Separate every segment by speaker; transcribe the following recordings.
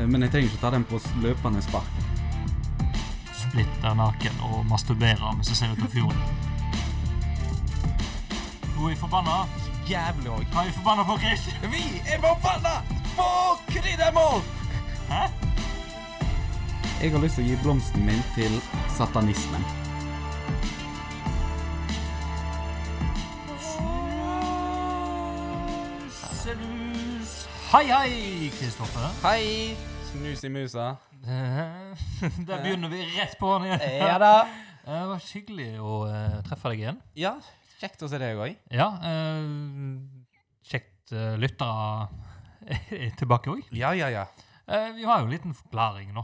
Speaker 1: Eh, Men jeg trenger ikke ta den på s- løpende spark.
Speaker 2: splitter naken og masturberer mens jeg ser ut av fjorden. Nå er jeg forbanna.
Speaker 3: Jævlig òg.
Speaker 2: Hva er jeg forbanna på, Chris?
Speaker 3: Vi er forbanna på kryddermål!
Speaker 2: Hæ?
Speaker 1: Jeg har lyst til å gi blomsten min til satanismen.
Speaker 2: Snus. Hei, hei, Kristoffer.
Speaker 3: Hei, snus i musa.
Speaker 2: Eh, Der begynner vi rett på den igjen.
Speaker 3: Ja da.
Speaker 2: Eh, Det var hyggelig å eh, treffe deg igjen.
Speaker 3: Ja, kjekt å se deg òg.
Speaker 2: Ja, eh, kjekt eh, lyttere er tilbake òg.
Speaker 3: Ja, ja, ja.
Speaker 2: Vi har jo en liten forklaring nå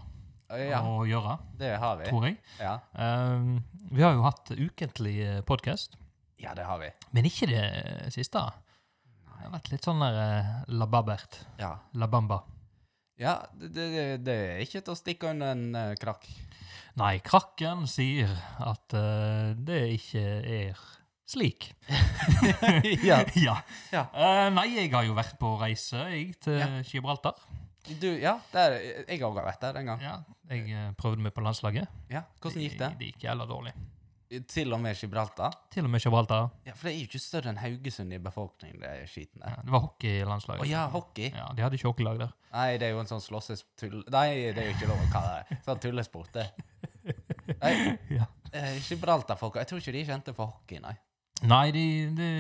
Speaker 3: Ja,
Speaker 2: å gjøre,
Speaker 3: det har vi.
Speaker 2: tror jeg.
Speaker 3: Ja,
Speaker 2: Eh, Vi har jo hatt ukentlig podkast.
Speaker 3: ja det har vi.
Speaker 2: Men ikke det siste. Det har vært litt sånn der eh, lababert.
Speaker 3: Ja,
Speaker 2: Labamba.
Speaker 3: ja det, det, det er ikke til å stikke under en eh, krakk.
Speaker 2: Nei, krakken sier at eh, det ikke er slik.
Speaker 3: ja.
Speaker 2: ja.
Speaker 3: Ja.
Speaker 2: Eh, nei, jeg har jo vært på reise, jeg, til
Speaker 3: Ja.
Speaker 2: Gibraltar.
Speaker 3: Du, ja, der, jeg har også vært der en gang.
Speaker 2: Ja. Jeg eh, prøvde meg på landslaget.
Speaker 3: Ja, Hvordan gikk det?
Speaker 2: Det gikk jævla dårlig.
Speaker 3: Til og med Gibraltar?
Speaker 2: Til og med Gibraltar.
Speaker 3: Ja, For det er jo ikke større enn Haugesund i befolkningen, det er skiten
Speaker 2: Ja,
Speaker 3: der.
Speaker 2: det var
Speaker 3: Å
Speaker 2: hockeylandslaget.
Speaker 3: ja, hockey.
Speaker 2: Ja, de hadde ikke hockeylag der.
Speaker 3: Nei, det er jo en sånn slåssestull... Nei, det er jo ikke lov å kalle det sånn tullesport. det. Nei,
Speaker 2: Ja.
Speaker 3: eh, Gibraltar-folka Jeg tror ikke de kjente for hockey, nei.
Speaker 2: Nei, det de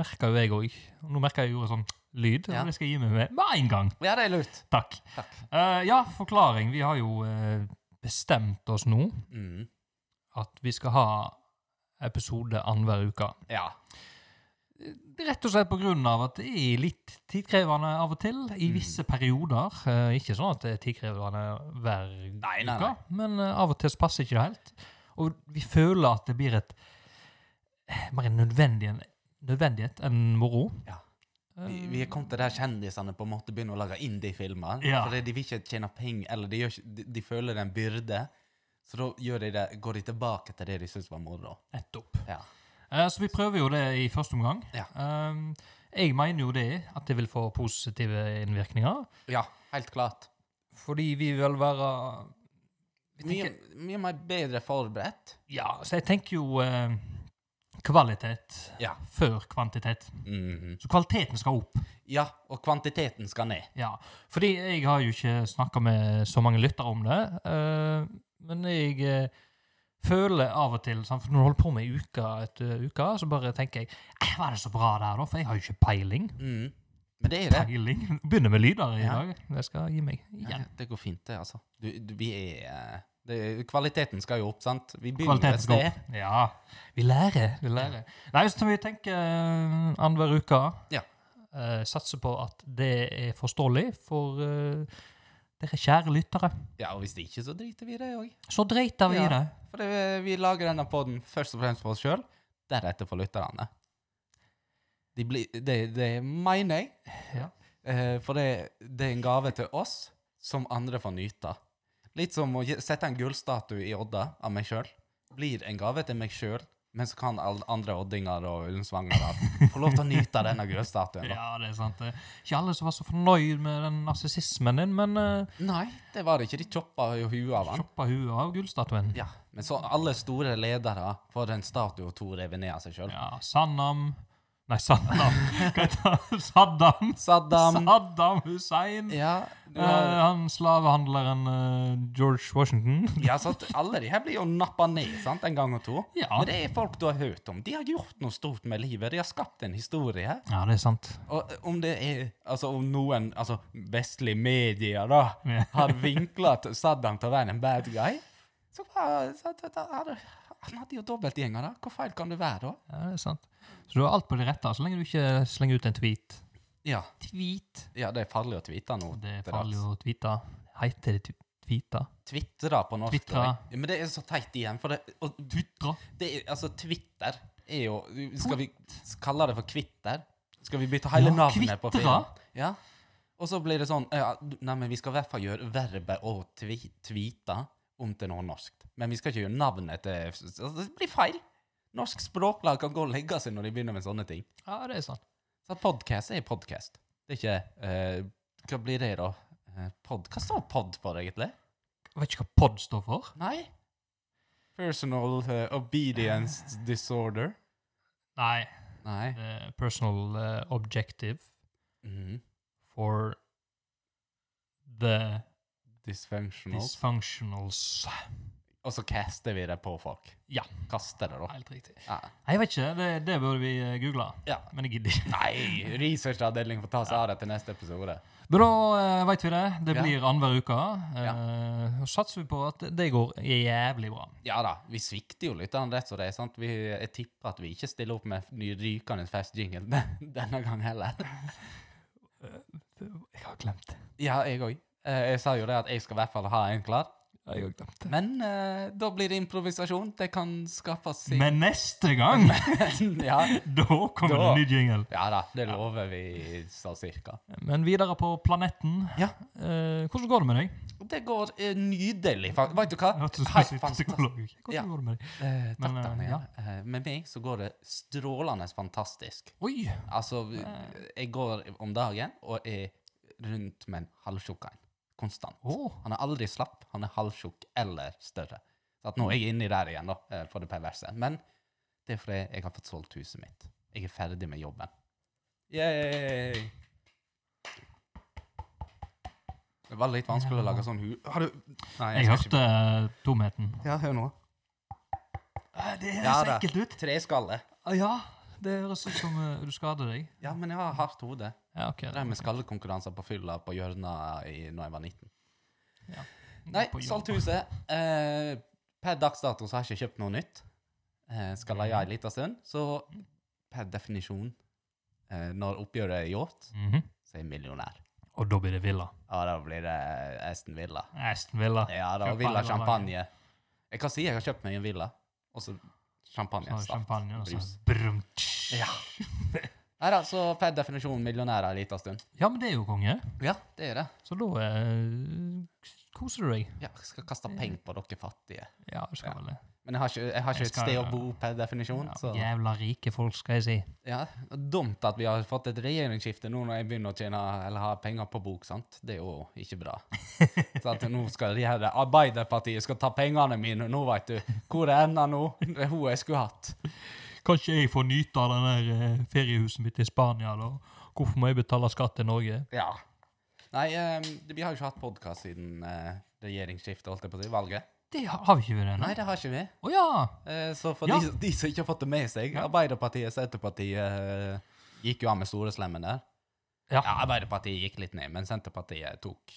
Speaker 2: merka jo jeg òg. Nå merka jeg gjorde sånn lyd,
Speaker 3: Ja.
Speaker 2: og det skal jeg gi meg med med en gang.
Speaker 3: Ja, det er lurt.
Speaker 2: Takk.
Speaker 3: Takk.
Speaker 2: Eh, ja, forklaring. Vi har jo eh, bestemt oss nå
Speaker 3: Mm.
Speaker 2: at vi skal ha episode annenhver uke.
Speaker 3: Ja.
Speaker 2: Rett og slett på grunn av at det er litt tidkrevende av og til, i
Speaker 3: Mm.
Speaker 2: visse perioder. Eh, ikke sånn at det er tidkrevende hver
Speaker 3: Nei, nei,
Speaker 2: uke, men eh, av og til så passer ikke det helt. Og vi føler at det blir et eh, mer en nødvendig, nødvendighet enn moro. Eh,
Speaker 3: Ja. Vi, vi er kommet til der kjendisene på en måte begynner å lage indie-filmer.
Speaker 2: Ja.
Speaker 3: Fordi de vil ikke tjene penger, eller de, gjør ikke, de, de føler det er en byrde. Så da gjør de det, går de tilbake til det de syns var moro.
Speaker 2: Nettopp.
Speaker 3: Ja.
Speaker 2: Eh, Så vi prøver jo det i første omgang.
Speaker 3: Ja.
Speaker 2: Ehm, Jeg mener jo det at det vil få positive innvirkninger.
Speaker 3: ja, helt klart.
Speaker 2: Fordi vi vil være
Speaker 3: Mye, mye mer bedre forberedt.
Speaker 2: Ja, så jeg tenker jo eh, kvalitet
Speaker 3: Ja.
Speaker 2: før kvantitet.
Speaker 3: Mhm.
Speaker 2: Så kvaliteten skal opp.
Speaker 3: Ja, og kvantiteten skal ned.
Speaker 2: Ja. Fordi jeg har jo ikke snakka med så mange lyttere om det. eh, men jeg eh, føler av og til sant, for Når du holder på med ei uke etter uke, så bare tenker jeg "Eh, Var det så bra der, da? For jeg har jo ikke peiling.
Speaker 3: Mhm. Men det er det.
Speaker 2: peiling. Begynner med lyder i
Speaker 3: Ja.
Speaker 2: dag. Det skal jeg gi meg
Speaker 3: Ja,
Speaker 2: igjen.
Speaker 3: det går fint, det, altså. Du, du, vi er eh, det, Kvaliteten skal jo opp, sant? Vi begynner
Speaker 2: Kvaliteten
Speaker 3: et
Speaker 2: skal
Speaker 3: sted.
Speaker 2: opp. Ja. Vi lærer. Vi lærer. Nei, så vi tenker eh, annenhver uke.
Speaker 3: Ja.
Speaker 2: Eh, satser på at det er forståelig for eh, dere kjære lyttere.
Speaker 3: Ja, og hvis det ikke, så driter vi i det òg.
Speaker 2: Så driter vi
Speaker 3: Ja.
Speaker 2: i det.
Speaker 3: For det, vi lager denne podden først og fremst for oss sjøl, deretter for lytterne. De blir- det, det mener jeg.
Speaker 2: Ja.
Speaker 3: Eh, for det, det er en gave til oss som andre får nyte. Litt som å gi- sette en gullstatue i Odda av meg sjøl. Blir en gave til meg sjøl, men så kan alle andre oddinger og ullensvangere få lov til å nyte denne gullstatuen. da.
Speaker 2: Ja, det er sant. det. Ikke alle som var så fornøyd med den narsissismen din, men uh,
Speaker 3: Nei, det var det ikke. De choppa jo huet av han.
Speaker 2: shoppa huet av gullstatuen.
Speaker 3: Ja, Men så alle store ledere får en statue og to revener av seg sjøl.
Speaker 2: Ja, Sannam Nei, Saddam. Hva heter han? Saddam?
Speaker 3: Saddam.
Speaker 2: Saddam Hussein.
Speaker 3: Ja, du
Speaker 2: Eh,
Speaker 3: har,
Speaker 2: han slavehandleren eh, George Washington.
Speaker 3: ja sant? Alle de her blir jo nappa ned sant? en gang og to.
Speaker 2: Ja.
Speaker 3: Men det er folk du har hørt om. De har gjort noe stort med livet. De har skapt en historie.
Speaker 2: ja, det er sant.
Speaker 3: Og om det er Altså, om noen altså, vestlige medier da
Speaker 2: Ja.
Speaker 3: har vinkla Saddam til å være en bad guy, så, hva- så, så, så har du- Han hadde jo dobbeltgjenger, da. Hvor feil kan det være, da?
Speaker 2: Ja, det er sant. Så du har alt på det rette, så lenge du ikke slenger ut en tweet.
Speaker 3: Ja,
Speaker 2: Tweet?
Speaker 3: ja det er farlig å tweete nå.
Speaker 2: Det er
Speaker 3: til
Speaker 2: farlig
Speaker 3: dags.
Speaker 2: å tweete. Heter det tw- tweete?
Speaker 3: Twittre på norsk.
Speaker 2: Twittre.
Speaker 3: da. Ja, Men det er så teit igjen. For det, og du,
Speaker 2: Twittre?
Speaker 3: det er, altså, Twitter er jo Skal vi kalle det for Kvitter? Skal vi bytte hele
Speaker 2: Ja,
Speaker 3: navnet på
Speaker 2: Kvitter.
Speaker 3: filmen? Ja. Og så blir det sånn ja, Nei, men vi skal i hvert fall gjøre verbet å tvi, tweete om til noe norsk. Men vi skal ikke gjøre navnet til altså, Det blir feil. Norsk språklag kan gå og legge seg når de begynner med sånne ting.
Speaker 2: Ja, det er sant.
Speaker 3: Så podcast er podcast. Det er ikke eh, Hva blir det, da? Eh, Pod. Hva står pod for, egentlig?
Speaker 2: Jeg vet ikke hva pod står for.
Speaker 3: Nei? Personal eh,
Speaker 2: Eh.
Speaker 3: obedience disorder.
Speaker 2: Nei.
Speaker 3: Nei.
Speaker 2: eh, personal eh, objective
Speaker 3: Mhm.
Speaker 2: for the
Speaker 3: Dysfunctional.
Speaker 2: dysfunctionals.
Speaker 3: Og så caster vi det på folk.
Speaker 2: Ja.
Speaker 3: Kaster det, da.
Speaker 2: Helt riktig.
Speaker 3: Ja.
Speaker 2: Nei, jeg vet ikke. Det, det burde vi eh, google.
Speaker 3: Ja.
Speaker 2: Men jeg gidder ikke.
Speaker 3: Nei! Researchavdeling får ta seg av det til neste episode.
Speaker 2: Men da uh, veit vi det. Det
Speaker 3: Ja.
Speaker 2: blir annenhver uke. eh, Og satser vi på at det- det går jævlig bra.
Speaker 3: Ja da, vi svikter jo lytterne rett og det. er sant? Vi, jeg tipper at vi ikke stiller opp med ny rykende fersk jingle den- denne gang heller.
Speaker 2: Jeg har glemt det.
Speaker 3: Ja, jeg òg. Jeg sa jo det at jeg skal i hvert fall ha en klar.
Speaker 2: Jeg har glemt det.
Speaker 3: Men eh, da blir det improvisasjon. Det kan skaffes i-
Speaker 2: Men neste gang,
Speaker 3: ja.
Speaker 2: da kommer det
Speaker 3: Da.
Speaker 2: en ny jingle.
Speaker 3: ja da, det lover vi så cirka.
Speaker 2: Men videre på planeten.
Speaker 3: Ja.
Speaker 2: Eh, hvordan går det med deg?
Speaker 3: Det går eh, nydelig. fa- Vet du hva?
Speaker 2: Jeg hørte du skulle
Speaker 3: Helt
Speaker 2: si
Speaker 3: fantastisk.
Speaker 2: psykolog. Hvordan
Speaker 3: Ja.
Speaker 2: går det med deg?
Speaker 3: Eh, takk,
Speaker 2: Men, eh,
Speaker 3: Daniel.
Speaker 2: ja.
Speaker 3: Eh, med meg så går det strålende fantastisk.
Speaker 2: Oi!
Speaker 3: Altså,
Speaker 2: Eh.
Speaker 3: jeg går om dagen og er rundt med en halvtjukk en. Konstant.
Speaker 2: Åh.
Speaker 3: Han er aldri slapp, han er halvtjukk eller større. Så at nå er jeg inni der igjen, da, eh, for det perverse. Men det er fordi jeg har fått solgt huset mitt. Jeg er ferdig med jobben. Yay! Det var litt vanskelig å lage sånn hu... Har du Nei,
Speaker 2: Jeg
Speaker 3: skal ikke-
Speaker 2: hørte eh, tomheten.
Speaker 3: Ja, hør nå.
Speaker 2: Eh, Det høres
Speaker 3: Ja, Ah,
Speaker 2: så
Speaker 3: da.
Speaker 2: ekkelt ut.
Speaker 3: Treskalle.
Speaker 2: Ja, det høres ut som eh, du skader deg.
Speaker 3: Ja, men jeg har hardt hode.
Speaker 2: Ja, ok.
Speaker 3: Jeg drev med skallekonkurranser på fylla på hjørna i, når jeg var 19. Nei,
Speaker 2: På jobb.
Speaker 3: solgt huset. Eh, per dags dato så har jeg ikke kjøpt noe nytt. Eh, skal leie en liten stund. Så per definisjon, eh, når oppgjøret er gjort,
Speaker 2: Mhm.
Speaker 3: så er jeg millionær.
Speaker 2: Og da blir det Villa.
Speaker 3: Ja, da blir det eh, Aston Villa.
Speaker 2: Aston Villa.
Speaker 3: Ja, da
Speaker 2: Champagne
Speaker 3: Villa
Speaker 2: hver dag.
Speaker 3: Champagne. Jeg kan si jeg har kjøpt meg en villa, og så champagne.
Speaker 2: Så
Speaker 3: saft,
Speaker 2: champagne og sånn.
Speaker 3: brus.
Speaker 2: Brum.
Speaker 3: Ja. Nei da, så per definisjon millionær en liten stund.
Speaker 2: ja, men det er jo konge.
Speaker 3: Ja, det er det.
Speaker 2: Så da eh, koser du deg.
Speaker 3: Ja, jeg skal kaste penger på dere fattige.
Speaker 2: Ja, du skal vel det.
Speaker 3: Men jeg har ikke, jeg har ikke
Speaker 2: Jeg skal-
Speaker 3: et sted å bo per definisjon.
Speaker 2: Ja,
Speaker 3: så...
Speaker 2: jævla rike folk, skal jeg si.
Speaker 3: Ja, Dumt at vi har fått et regjeringsskifte nå når jeg begynner å tjene eller ha penger på bok. sant? Det er jo ikke bra. Så at nå skal de her Arbeiderpartiet skal ta pengene mine nå, veit du. Hvor er enda nå? Det er hun jeg skulle hatt.
Speaker 2: Kanskje jeg får nyte av den der eh, feriehuset mitt i Spania, da? Hvorfor må jeg betale skatt til Norge?
Speaker 3: Ja. Nei, eh, vi har jo ikke hatt podkast siden eh, regjeringsskiftet, holdt jeg på å si. Valget.
Speaker 2: Det har, har vi ikke vært ennå.
Speaker 3: Nei, det har ikke vi.
Speaker 2: Å ja!
Speaker 3: Eh, så for
Speaker 2: Ja.
Speaker 3: de, de som ikke har fått det med seg, Arbeiderpartiet, Senterpartiet eh, gikk jo av med store slemmen der.
Speaker 2: Ja.
Speaker 3: ja, Arbeiderpartiet gikk litt ned, men Senterpartiet tok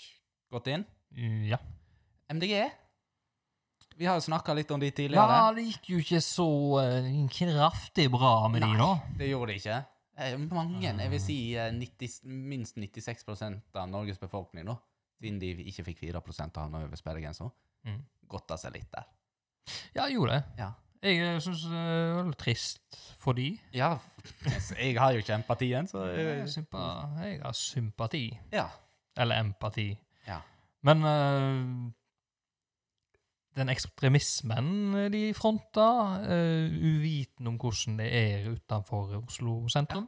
Speaker 3: godt inn.
Speaker 2: Mm, Ja.
Speaker 3: MDG? Vi har jo snakka litt om de tidligere.
Speaker 2: ja, det gikk jo ikke så eh, kraftig bra med de, da.
Speaker 3: Det gjorde de ikke. Eh, Mange, jeg vil si eh, 90, minst 96 av Norges befolkning nå, siden de ikke fikk 4 av han over sperregrensa,
Speaker 2: Mm.
Speaker 3: godta seg litt der.
Speaker 2: Ja, jeg gjorde det.
Speaker 3: Ja.
Speaker 2: Jeg syns det var litt trist for de.
Speaker 3: Ja, jeg har jo ikke empatien, så
Speaker 2: Jeg,
Speaker 3: eh,
Speaker 2: sympa, jeg har sympati.
Speaker 3: Ja.
Speaker 2: Eller empati.
Speaker 3: Ja.
Speaker 2: Men eh, den ekstremismen de fronta, eh, uviten om hvordan det er utenfor Oslo sentrum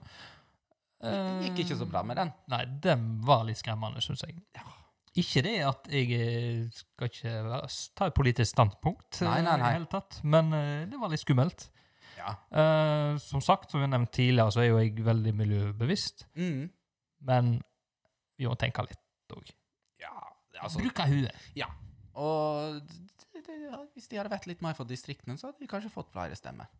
Speaker 2: eh,
Speaker 3: Det gikk ikke så bra med den.
Speaker 2: Nei, den var litt skremmende, syns jeg.
Speaker 3: Ja.
Speaker 2: Ikke det at jeg eh, skal ikke være, ta et politisk standpunkt, eh,
Speaker 3: Nei, nei, nei.
Speaker 2: I det hele tatt, men eh, det var litt skummelt.
Speaker 3: Ja.
Speaker 2: Eh, som sagt, som vi har nevnt tidligere, så er jo jeg veldig miljøbevisst,
Speaker 3: Mm.
Speaker 2: men vi må tenke litt òg.
Speaker 3: ja altså.
Speaker 2: Bruke huet.
Speaker 3: Og det, det, hvis de hadde vært litt mer for distriktene, så hadde de kanskje fått flere stemmer.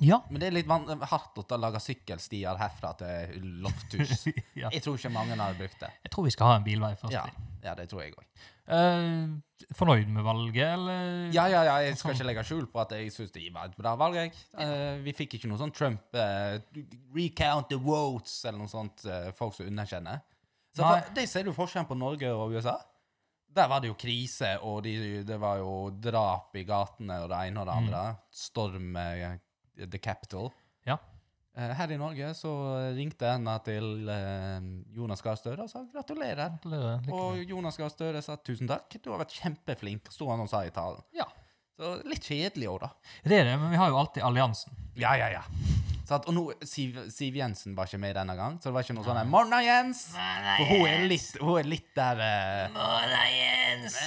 Speaker 2: Ja.
Speaker 3: Men det er litt van hardt å ta- lage sykkelstier herfra til Lofthus.
Speaker 2: ja.
Speaker 3: Jeg tror ikke mange hadde brukt det.
Speaker 2: Jeg tror vi skal ha en bilvei først.
Speaker 3: Ja, ja det tror jeg òg.
Speaker 2: Eh, fornøyd med valget, eller?
Speaker 3: Ja, ja, ja, jeg skal ikke legge skjul på at jeg syns det var et bra valg. Jeg. Eh, vi fikk ikke noe sånn Trump eh, recount the votes eller noe sånt eh, folk som underkjenner. Så
Speaker 2: Nei.
Speaker 3: for, de ser du forskjellen på Norge og USA. Der var det jo krise, og de, det var jo drap i gatene og det ene og det andre. Storm eh, the capital.
Speaker 2: Ja.
Speaker 3: Eh, her i Norge så ringte Erna til eh, Jonas Gahr Støre og sa gratulerer.
Speaker 2: Gratulerer. Lykke til.
Speaker 3: Og Jonas Gahr Støre sa tusen takk, du har vært kjempeflink, sto han og sa i talen.
Speaker 2: Ja.
Speaker 3: Så litt kjedelig òg, da.
Speaker 2: Det er det, men vi har jo alltid alliansen.
Speaker 3: Ja, ja, ja. Sant? og nå Siv, Siv Jensen var ikke med denne gang, så det var ikke noe sånn 'Morna, Jens'! For hun er litt, hun er litt der eh,
Speaker 2: Morna, Jens!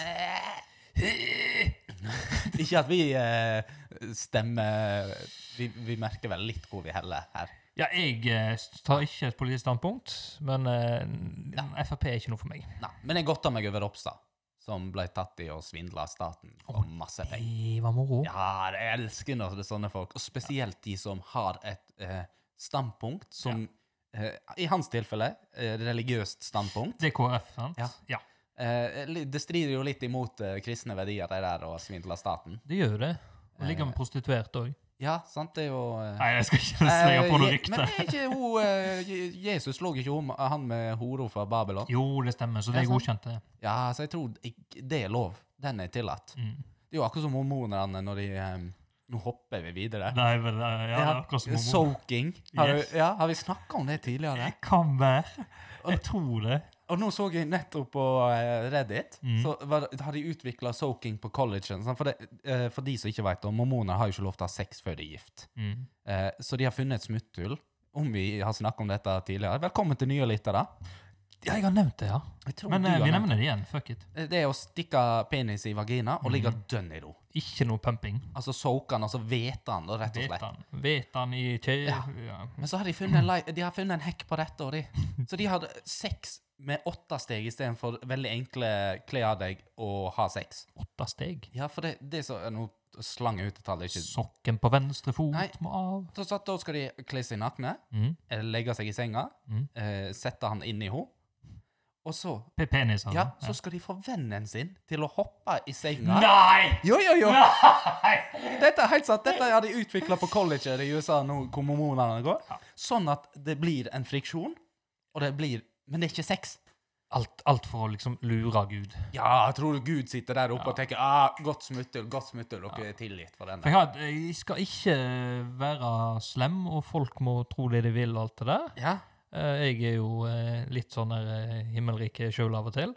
Speaker 3: Ikke at vi eh, stemmer vi, vi merker vel litt hvor vi heller her.
Speaker 2: Ja, jeg eh, tar ikke et politisk standpunkt, men eh, Frp er ikke noe for meg.
Speaker 3: Nei, men jeg godta meg over Ropstad, som ble tatt i å svindle av staten for masse penger.
Speaker 2: Det var moro.
Speaker 3: Ja, jeg elsker når det er sånne folk, og spesielt de som har et eh, standpunkt som eh, I hans tilfelle eh, religiøst standpunkt.
Speaker 2: Det er KrF, sant?
Speaker 3: Ja.
Speaker 2: ja.
Speaker 3: Eh, li- det strider jo litt imot eh, kristne verdier, det der å svindle staten.
Speaker 2: Det gjør jo det. Og ligger med prostituerte òg.
Speaker 3: Eh, Ja, sant, det er jo eh,
Speaker 2: Nei, jeg skal ikke slenge på noe
Speaker 3: eh, Je- Men
Speaker 2: rykte.
Speaker 3: er ikke hun eh, Je- Jesus lå ikke hun, han med hora fra Babylon?
Speaker 2: Jo, det stemmer, så det
Speaker 3: Ja,
Speaker 2: er godkjent, det.
Speaker 3: Ja, så jeg tror ik- det er lov. Den er tillatt.
Speaker 2: Mm.
Speaker 3: Det er jo akkurat som hormonerne når de eh, Nå hopper vi videre.
Speaker 2: Nei, men eh, ja, det er akkurat som homo.
Speaker 3: Soaking. Har, du-
Speaker 2: Yes.
Speaker 3: ja, har vi snakka om det tidligere?
Speaker 2: Det kan være. Jeg tror det.
Speaker 3: Og nå så jeg nettopp på eh, Reddit,
Speaker 2: Mm.
Speaker 3: så var, det- har de utvikla soaking på collegen. sant? For, det, eh, for de som ikke veit om mormoner, har jo ikke lov til å ha sex før de er gift.
Speaker 2: Mm.
Speaker 3: Eh, så de har funnet et smutthull. Om vi har snakka om dette tidligere. Velkommen til nye lyttere.
Speaker 2: Ja, jeg har nevnt det, ja.
Speaker 3: Jeg tror
Speaker 2: Men
Speaker 3: du
Speaker 2: eh,
Speaker 3: har
Speaker 2: vi
Speaker 3: nevnt
Speaker 2: nevner det igjen. Fuck it.
Speaker 3: det. Det er å stikke penis i vagina og ligge
Speaker 2: Mm.
Speaker 3: dønn i ro.
Speaker 2: Ikke noe pumping.
Speaker 3: Altså soake han, altså hvete han, da, rett og slett.
Speaker 2: Vetan. Vetan i kje... Ja.
Speaker 3: Ja. Men så har de funnet en, li- de har funnet en hekk på dette, og de. Så de har sex med åtte steg istedenfor veldig enkle kle av deg og ha sex.
Speaker 2: Åtte steg.
Speaker 3: Ja, for det, det er så Nå slang jeg ut et tall. Ikke.
Speaker 2: Sokken på venstre fot
Speaker 3: Nei.
Speaker 2: må av.
Speaker 3: Så, så da skal de kle seg nakne,
Speaker 2: Mm.
Speaker 3: eh, legge seg i senga,
Speaker 2: Mm.
Speaker 3: eh, sette han inn i henne, og så
Speaker 2: Pe- Penis, altså.
Speaker 3: ja, så skal de få vennen sin til å hoppe i senga.
Speaker 2: Nei!
Speaker 3: Jo, jo, jo!
Speaker 2: Nei!
Speaker 3: Dette er helt sant. Dette har de utvikla på colleger i USA nå, hvor mormonene går. Sånn at det blir en friksjon, og det blir Men det er ikke sex.
Speaker 2: Alt, alt for å liksom lure Gud.
Speaker 3: Ja, jeg tror Gud sitter der oppe og tenker ah, 'Godt smutthull, godt smutthull, dere er tilgitt for den
Speaker 2: For jeg, har, jeg skal ikke være slem, og folk må tro det de vil, og alt det der.
Speaker 3: Ja.
Speaker 2: Eh, Jeg er jo eh, litt sånn der eh, himmelrike sjøl av og til.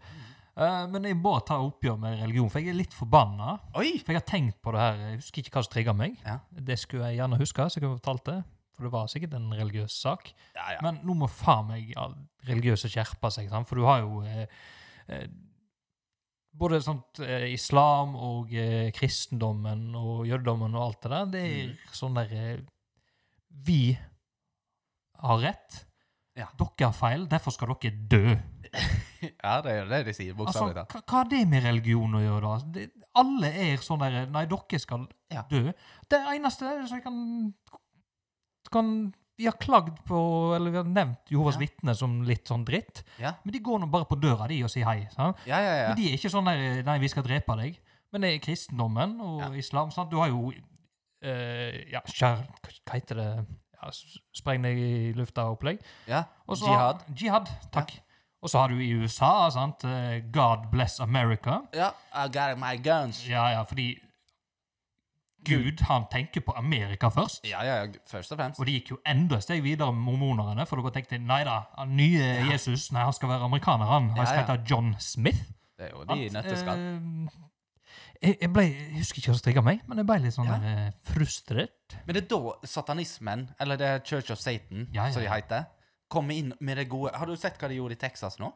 Speaker 2: Eh, Men jeg må ta oppgjør med religion, for jeg er litt forbanna.
Speaker 3: Oi!
Speaker 2: For jeg har tenkt på det her, jeg husker ikke hva som trigga meg.
Speaker 3: Ja.
Speaker 2: Det skulle jeg gjerne huske, så jeg kunne fortalt det. For det var sikkert en religiøs sak.
Speaker 3: Ja, ja.
Speaker 2: Men nå må faen meg ja, religiøse skjerpe seg, sant? for du har jo eh, eh, både sånt eh, islam og eh, kristendommen og jødedommen og alt det der. Det
Speaker 3: Mm.
Speaker 2: er sånn der eh, Vi har rett.
Speaker 3: Ja.
Speaker 2: Dere har feil, derfor skal dere dø.
Speaker 3: Ja, det er jo det de sier,
Speaker 2: Altså,
Speaker 3: bokstavelig talt.
Speaker 2: hva, hva har det med religion å gjøre, da? Altså, Det, alle er sånn der Nei, dere skal
Speaker 3: Ja.
Speaker 2: dø. Det eneste er som jeg kan, kan Vi har klagd på, eller vi har nevnt Jehovas
Speaker 3: Ja.
Speaker 2: vitner som litt sånn dritt,
Speaker 3: Ja.
Speaker 2: men de går nå bare på døra, de, og sier hei. Sant?
Speaker 3: Ja, ja, ja.
Speaker 2: Men de er ikke sånn der Nei, vi skal drepe deg. Men det er kristendommen og
Speaker 3: Ja.
Speaker 2: islam. Sant? Du har jo eh, Ja, skjær... Hva heter det? Ja, s- spreng deg i lufta-opplegg.
Speaker 3: ja.
Speaker 2: Og så-
Speaker 3: Jihad.
Speaker 2: Jihad, takk. Og så har du i USA, sant, eh, God bless America.
Speaker 3: Ja, I got my guns.
Speaker 2: Ja, ja, fordi Gud, han tenker på Amerika først.
Speaker 3: Ja, ja, ja, først og fremst.
Speaker 2: Og det gikk jo enda et steg videre med mormonerne, for dere tenkte nei da, han nye Jesus, nei, han skal være amerikaner, han. Han
Speaker 3: Ja,
Speaker 2: skal
Speaker 3: ja.
Speaker 2: hete John Smith.
Speaker 3: Det er jo de
Speaker 2: sant?
Speaker 3: nøtteskall.
Speaker 2: Eh, jeg, jeg, ble, jeg husker ikke hva som trigga meg, men jeg ble litt sånn
Speaker 3: Ja.
Speaker 2: der, eh, frustrert.
Speaker 3: Men det er da satanismen, eller det er Church of Satan,
Speaker 2: Ja, ja,
Speaker 3: som de
Speaker 2: ja.
Speaker 3: heter, kommer inn med det gode Har du sett hva de gjorde i Texas nå?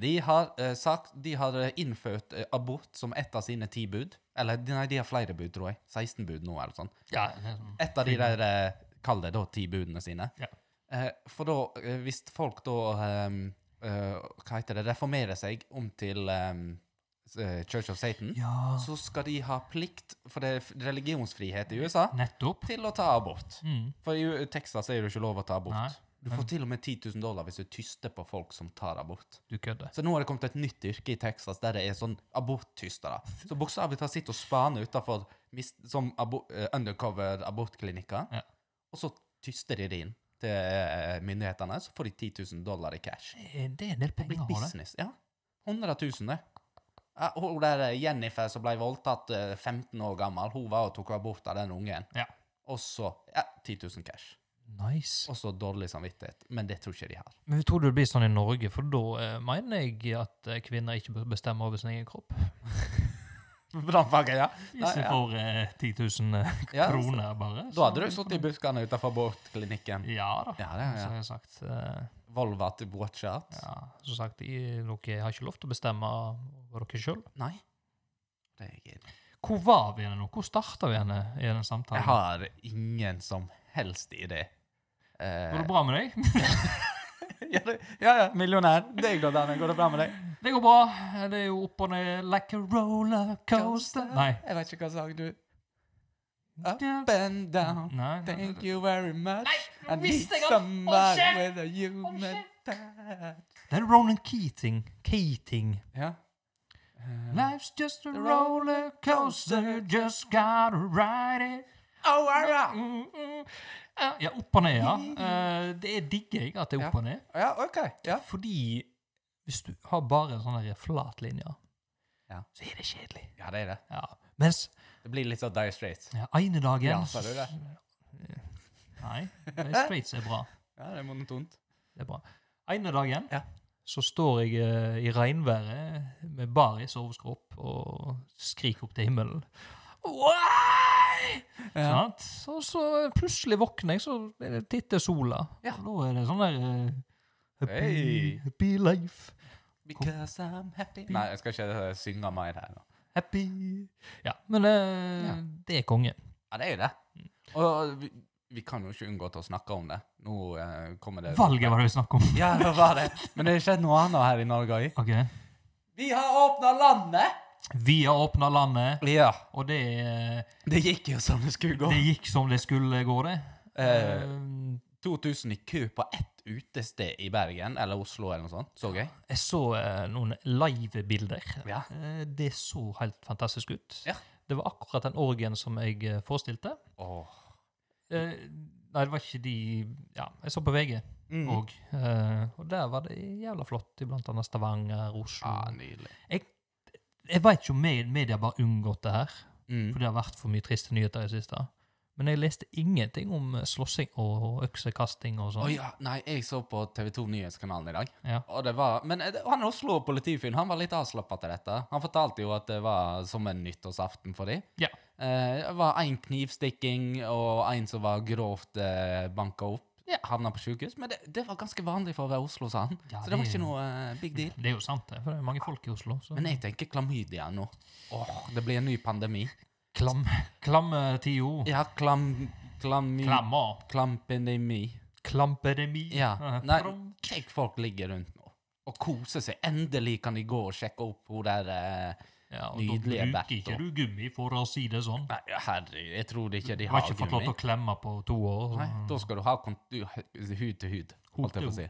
Speaker 3: De har, eh, sagt, de har eh, innført eh, abort som ett av sine ti bud. Eller nei, de har flere bud, tror jeg. 16 bud nå, eller sånn.
Speaker 2: Ja, det er sånn.
Speaker 3: Et av de der, eh, kall det da, ti budene sine.
Speaker 2: Ja.
Speaker 3: Eh, for da, eh, hvis folk da, eh, eh, hva heter det, reformerer seg om til eh, eh, Church of Satan,
Speaker 2: ja
Speaker 3: så skal de ha plikt, for det er f- religionsfrihet i USA,
Speaker 2: nettopp.
Speaker 3: til å ta abort.
Speaker 2: Mm.
Speaker 3: For i U- Texas er det jo ikke lov å ta abort.
Speaker 2: Nei,
Speaker 3: Du får til og med 10 000 dollar hvis du tyster på folk som tar abort.
Speaker 2: du kødder.
Speaker 3: Så nå har det kommet et nytt yrke i Texas der det er sånn aborttystere. Så bokstavelig talt sitter og spaner utafor som abo eh, undercover abortklinikker,
Speaker 2: Ja.
Speaker 3: og så tyster de det inn til eh, myndighetene, så får de 10 000 dollar i cash.
Speaker 2: Det er- Eh, det er en del
Speaker 3: Det
Speaker 2: penger å
Speaker 3: blir
Speaker 2: ha det.
Speaker 3: business. Ja. 100 000, det. Ja, Hun der eh, Jennifer som ble voldtatt eh, 15 år gammel, hun var og tok abort av den ungen.
Speaker 2: Ja.
Speaker 3: Og så ja, 10 000 cash.
Speaker 2: Nice.
Speaker 3: Og så dårlig samvittighet. Men det tror ikke de har.
Speaker 2: Men tror du det blir sånn i Norge? For da eh, mener jeg at eh, kvinner ikke bør bestemme over sin egen kropp.
Speaker 3: Brannpakke, ja.
Speaker 2: Hvis jeg
Speaker 3: ja.
Speaker 2: får eh, 10 000
Speaker 3: Ja,
Speaker 2: kroner, bare.
Speaker 3: Da hadde du sittet i buskene utenfor abortklinikken.
Speaker 2: Ja da.
Speaker 3: Ja, det,
Speaker 2: Så
Speaker 3: ja.
Speaker 2: har jeg sagt eh,
Speaker 3: Volva til watch out.
Speaker 2: Ja, som sagt, jeg, dere har ikke lov til å bestemme over dere sjøl.
Speaker 3: Nei. Det er jeg enig i.
Speaker 2: Hvor var vi henne nå? Hvor starta vi henne i den samtalen?
Speaker 3: Jeg har ingen som helst idé.
Speaker 2: Går
Speaker 3: Eh,
Speaker 2: det bra med deg?
Speaker 3: ja, det- ja, ja, millionær. Det går, Daniel. går det bra med deg?
Speaker 2: Det går bra. Det er jo opp og ned like a roller coaster. Nei.
Speaker 3: Jeg vet ikke hva sang du Up
Speaker 2: Ja.
Speaker 3: and down.
Speaker 2: Nei.
Speaker 3: Thank you very much.
Speaker 2: nå
Speaker 3: I need
Speaker 2: visste jeg at- Å,
Speaker 3: somebody
Speaker 2: shit!
Speaker 3: with a human touch.
Speaker 2: Det er Ronan Keating. Keating.
Speaker 3: Ja.
Speaker 2: Life's just a roller coaster, just gotta ride it.
Speaker 3: Oh, ja.
Speaker 2: Mm, mm. Eh, Ja, opp og ned, ja. Eh, Det er digger jeg at det er opp og ned.
Speaker 3: ja, OK. Ja.
Speaker 2: Fordi hvis du har bare sånn sånne flatlinjer,
Speaker 3: Ja.
Speaker 2: så er det kjedelig.
Speaker 3: ja, det er det.
Speaker 2: Ja. Mens
Speaker 3: Det blir litt sånn Dire Straits.
Speaker 2: ja, ene dagen
Speaker 3: Ja, sa du det?
Speaker 2: Nei, Dire Straits er bra.
Speaker 3: Ja, det er monotont.
Speaker 2: Det er bra. Ene dagen
Speaker 3: Ja.
Speaker 2: så står jeg eh, i regnværet med baris overskropp og skriker opp til himmelen. Why?
Speaker 3: Ja.
Speaker 2: Sant? Og så plutselig våkner jeg, så er det- titter sola.
Speaker 3: Ja.
Speaker 2: Og Da er det sånn der eh, happy,
Speaker 3: Hey.
Speaker 2: happy life.
Speaker 3: Because I'm happy Nei, jeg skal ikke eh, synge mer her nå.
Speaker 2: Happy Ja, men eh,
Speaker 3: Ja.
Speaker 2: det er konge.
Speaker 3: Ja, det er jo det. Og vi, vi kan jo ikke unngå til å snakke om det. Nå eh, kommer det
Speaker 2: Valget var det vi snakket om.
Speaker 3: Ja, det var det. Men det har skjedd noe annet her i Norge òg.
Speaker 2: Ok.
Speaker 3: Vi har åpna landet!
Speaker 2: Vi har åpna landet,
Speaker 3: Ja.
Speaker 2: og det, eh,
Speaker 3: Det gikk jo som det skulle gå.
Speaker 2: det gikk som det skulle gå, det.
Speaker 3: Eh,
Speaker 2: Eh,
Speaker 3: 2000 i kø på ett utested i Bergen, eller Oslo, eller noe sånt. Så gøy.
Speaker 2: Jeg så eh, noen live-bilder.
Speaker 3: Ja.
Speaker 2: Eh, det så helt fantastisk ut.
Speaker 3: Ja.
Speaker 2: Det var akkurat den orgien som jeg eh, forestilte.
Speaker 3: Åh.
Speaker 2: Eh, nei, det var ikke de Ja, jeg så på VG
Speaker 3: Mm.
Speaker 2: òg. Eh, og der var det jævla flott, i blant annet Stavanger, Oslo
Speaker 3: Ja, nydelig.
Speaker 2: Jeg veit ikke om med- media bare unngått det her,
Speaker 3: Mm.
Speaker 2: for det har vært for mye triste nyheter i det siste. Men jeg leste ingenting om eh, slåssing og øksekasting og
Speaker 3: Å
Speaker 2: sånn.
Speaker 3: ja, nei, jeg så på TV 2 Nyhetskanalen i dag.
Speaker 2: Ja.
Speaker 3: Og det var, men eh, det- han Oslo-politifyren han var litt avslappa til dette. Han fortalte jo at det var som en nyttårsaften for dem.
Speaker 2: Ja.
Speaker 3: Eh, det var én knivstikking og én som var grovt eh, banka opp.
Speaker 2: Ja.
Speaker 3: Havna på sjukehus. Men det, det var ganske vanlig for å være Oslo, sa han.
Speaker 2: Ja,
Speaker 3: så
Speaker 2: det
Speaker 3: det var
Speaker 2: er-
Speaker 3: ikke noe eh, big deal.
Speaker 2: Det er jo sant, det, for det er mange folk i Oslo. Så.
Speaker 3: Men jeg tenker klamydia nå. Åh, Det blir en ny pandemi.
Speaker 2: Klam, klamme TO.
Speaker 3: Ja, klam... Klamy...
Speaker 2: Klammer.
Speaker 3: Klampendemi.
Speaker 2: Klampedemi.
Speaker 3: Ja.
Speaker 2: Eh,
Speaker 3: Nei,
Speaker 2: trom.
Speaker 3: tenk folk ligger rundt nå og koser seg. Endelig kan de gå og sjekke opp hun der eh,
Speaker 2: ja og
Speaker 3: nydelige
Speaker 2: Da
Speaker 3: Bertha.
Speaker 2: bruker ikke du gummi, for å si det sånn.
Speaker 3: Nei, herregud, jeg tror ikke de
Speaker 2: Du har
Speaker 3: har
Speaker 2: ikke fått lov
Speaker 3: gummi.
Speaker 2: til å klemme på to år. så-
Speaker 3: Nei, da skal du ha kont du- hud til hud, holdt jeg på å si.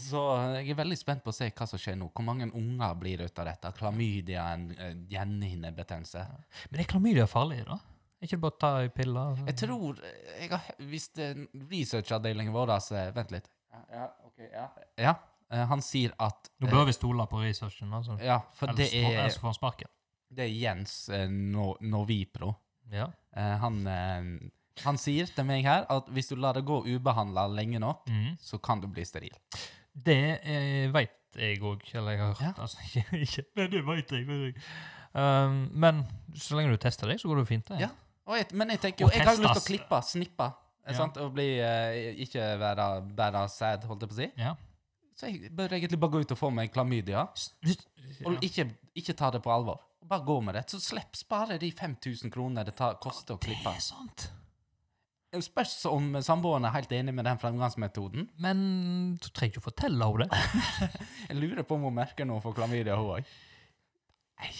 Speaker 3: Så eh, jeg er veldig spent på å se hva som skjer nå. Hvor mange unger blir det ut av dette? Klamydia, en eh, gjenhinnebetennelse.
Speaker 2: Men er klamydia farlig, da? Er ikke det bare å ta ei pille? altså?
Speaker 3: Jeg tror eh, jeg har, Hvis det er researchavdelingen vår eh, Vent litt. Ja, ok, ja. eh, han sier at
Speaker 2: Nå bør vi stole på researchen. Altså.
Speaker 3: eh, Ja, for det
Speaker 2: Ellers, får-
Speaker 3: er
Speaker 2: ellers får han sparken.
Speaker 3: Det er Jens eh, no, Novipro.
Speaker 2: Ja.
Speaker 3: Eh, han, eh, han sier til meg her at hvis du lar det gå ubehandla lenge nok,
Speaker 2: Mhm.
Speaker 3: så kan du bli steril.
Speaker 2: Det eh, veit jeg òg, eller jeg har hørt
Speaker 3: Ja.
Speaker 2: altså, ikke, ikke, Men det veit jeg. vet jeg. Um, men så lenge du tester deg, så går det jo fint. Det.
Speaker 3: Ja. Og jeg, men jeg tenker jo,
Speaker 2: Og
Speaker 3: jeg har jo lyst til å
Speaker 2: testes.
Speaker 3: klippe, snippe, eh,
Speaker 2: Ja.
Speaker 3: sant? og bli, eh, ikke være bare sad, holdt jeg på å si.
Speaker 2: Ja.
Speaker 3: Så jeg bør egentlig bare gå ut og få meg klamydia,
Speaker 2: S- hvis-
Speaker 3: og
Speaker 2: ja.
Speaker 3: ikke, ikke ta det på alvor. Bare gå med det. Så slipp spare de 5000 kroner det tar, koster å
Speaker 2: Det
Speaker 3: klippe.
Speaker 2: er sant.
Speaker 3: Det spørs om samboeren er helt enig med den fremgangsmetoden.
Speaker 2: Men du trenger ikke å fortelle henne det.
Speaker 3: Jeg lurer på om hun merker noe for klamydia, hun òg. Nei.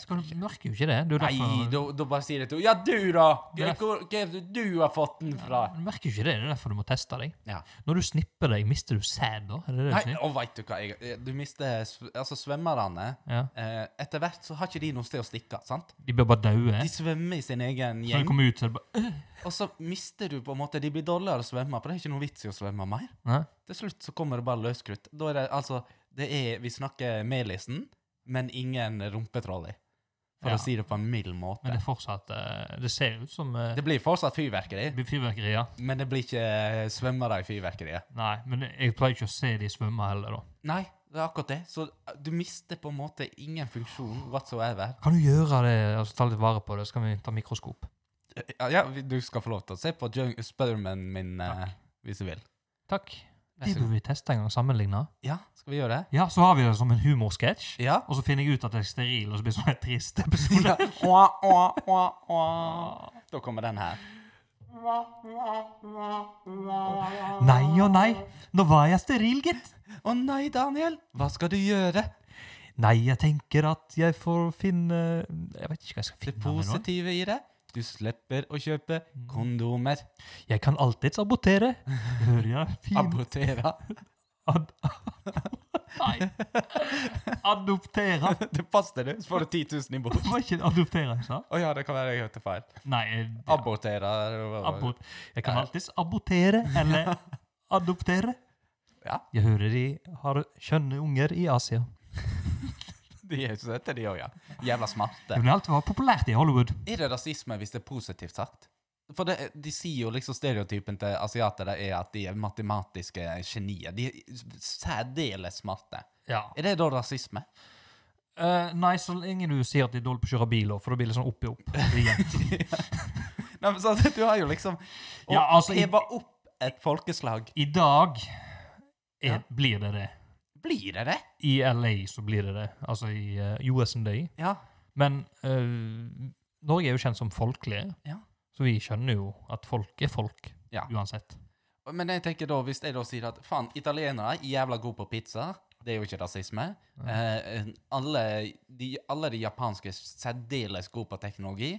Speaker 2: Skal du merker jo ikke det. Du,
Speaker 3: Nei, da, da bare sier jeg til henne Ja, du, da! Hva
Speaker 2: Det er-
Speaker 3: hvor- hva er det du har fått den fra?
Speaker 2: Du merker jo ikke det, det er derfor du må teste deg.
Speaker 3: Ja.
Speaker 2: Når du snipper deg, mister du sæd da? Er det det du
Speaker 3: Nei,
Speaker 2: sier?
Speaker 3: og veit du hva jeg, eh, Du mister sv- Altså, svømmerne
Speaker 2: Ja.
Speaker 3: eh, Etter hvert så har ikke de noe sted å stikke. sant?
Speaker 2: De blir bare daue.
Speaker 3: De svømmer i sin egen
Speaker 2: Når de
Speaker 3: gjeng,
Speaker 2: kommer ut, så er det bare øh.
Speaker 3: og så mister du på en måte De blir dårligere å svømme, for det er ikke noe vits i å svømme mer.
Speaker 2: Nei?
Speaker 3: Til slutt så kommer det bare løskrutt. Da er det altså det er, Vi snakker Melisen, men ingen rumpetrolley. For
Speaker 2: Ja.
Speaker 3: å si det på en mild måte.
Speaker 2: Men det er fortsatt eh, Det ser ut som eh,
Speaker 3: Det blir fortsatt fyrverkeri,
Speaker 2: det blir fyrverkeri, ja.
Speaker 3: men det blir ikke svømmere i fyrverkeriet.
Speaker 2: Nei, men jeg pleier ikke å se de svømme heller, da.
Speaker 3: Nei, Det er akkurat det. Så eh, du mister på en måte ingen funksjon whatsoever.
Speaker 2: Kan du gjøre det, altså ta litt vare på det, så kan vi ta mikroskop.
Speaker 3: Eh, Ja, ja, vi- du skal få lov til å se på Jung- Spiderman min eh, hvis du vil.
Speaker 2: Takk.
Speaker 3: Vær
Speaker 2: Det
Speaker 3: så god.
Speaker 2: burde vi teste en gang, sammenligne.
Speaker 3: Ja, skal vi gjøre det?
Speaker 2: Ja, så har vi det som en humorsketsj,
Speaker 3: Ja.
Speaker 2: og så finner jeg ut at jeg er steril, og så blir det sånn en trist episode.
Speaker 3: Ja. Åh, åh, åh, åh. Da kommer den her.
Speaker 2: Nei og nei, nå var jeg steril, gitt.
Speaker 3: Å nei, Daniel! Hva skal du gjøre?
Speaker 2: Nei, jeg tenker at jeg får finne Jeg vet ikke hva jeg skal
Speaker 3: Det
Speaker 2: finne. av meg nå.
Speaker 3: positive i det? Du slipper å kjøpe kondomer.
Speaker 2: Jeg kan alltids abortere. Hører jeg fin
Speaker 3: Abortere.
Speaker 2: ad... Nei. Adoptere.
Speaker 3: Det passer det, så får du 10 000 i bot.
Speaker 2: Var ikke det adoptere jeg sa?
Speaker 3: Å ja, det kan være jeg hørte feil.
Speaker 2: Nei. eh, ja,
Speaker 3: Abortere.
Speaker 2: abort. Jeg kan alltids abortere eller adoptere.
Speaker 3: Ja.
Speaker 2: Jeg hører de har skjønne unger i Asia.
Speaker 3: De er søte, de òg, ja. Jævla smarte.
Speaker 2: Det vil alltid være populært i Hollywood.
Speaker 3: Er det rasisme hvis det er positivt sagt? For det, de sier jo liksom stereotypen til asiatere er at de er matematiske genier. De er særdeles smarte.
Speaker 2: Ja.
Speaker 3: Er det da rasisme?
Speaker 2: Eh, nei, så lenge du sier at de er dårlige på å kjøre bil, også, for da blir det sånn opp i opp. igjen.
Speaker 3: Nei, men så, du har jo liksom å
Speaker 2: Ja, altså, i-
Speaker 3: heva opp et folkeslag.
Speaker 2: I dag er,
Speaker 3: Ja.
Speaker 2: blir det det.
Speaker 3: Blir det det?
Speaker 2: I LA så blir det det. Altså i eh, US and Day.
Speaker 3: Ja.
Speaker 2: Men eh, Norge er jo kjent som folkelig,
Speaker 3: Ja.
Speaker 2: så vi skjønner jo at folk er folk
Speaker 3: Ja.
Speaker 2: uansett.
Speaker 3: Men jeg tenker da, hvis jeg da sier at faen, italienere er jævla gode på pizza, det er jo ikke rasisme. Eh, alle, de, alle de japanske er særdeles gode på teknologi,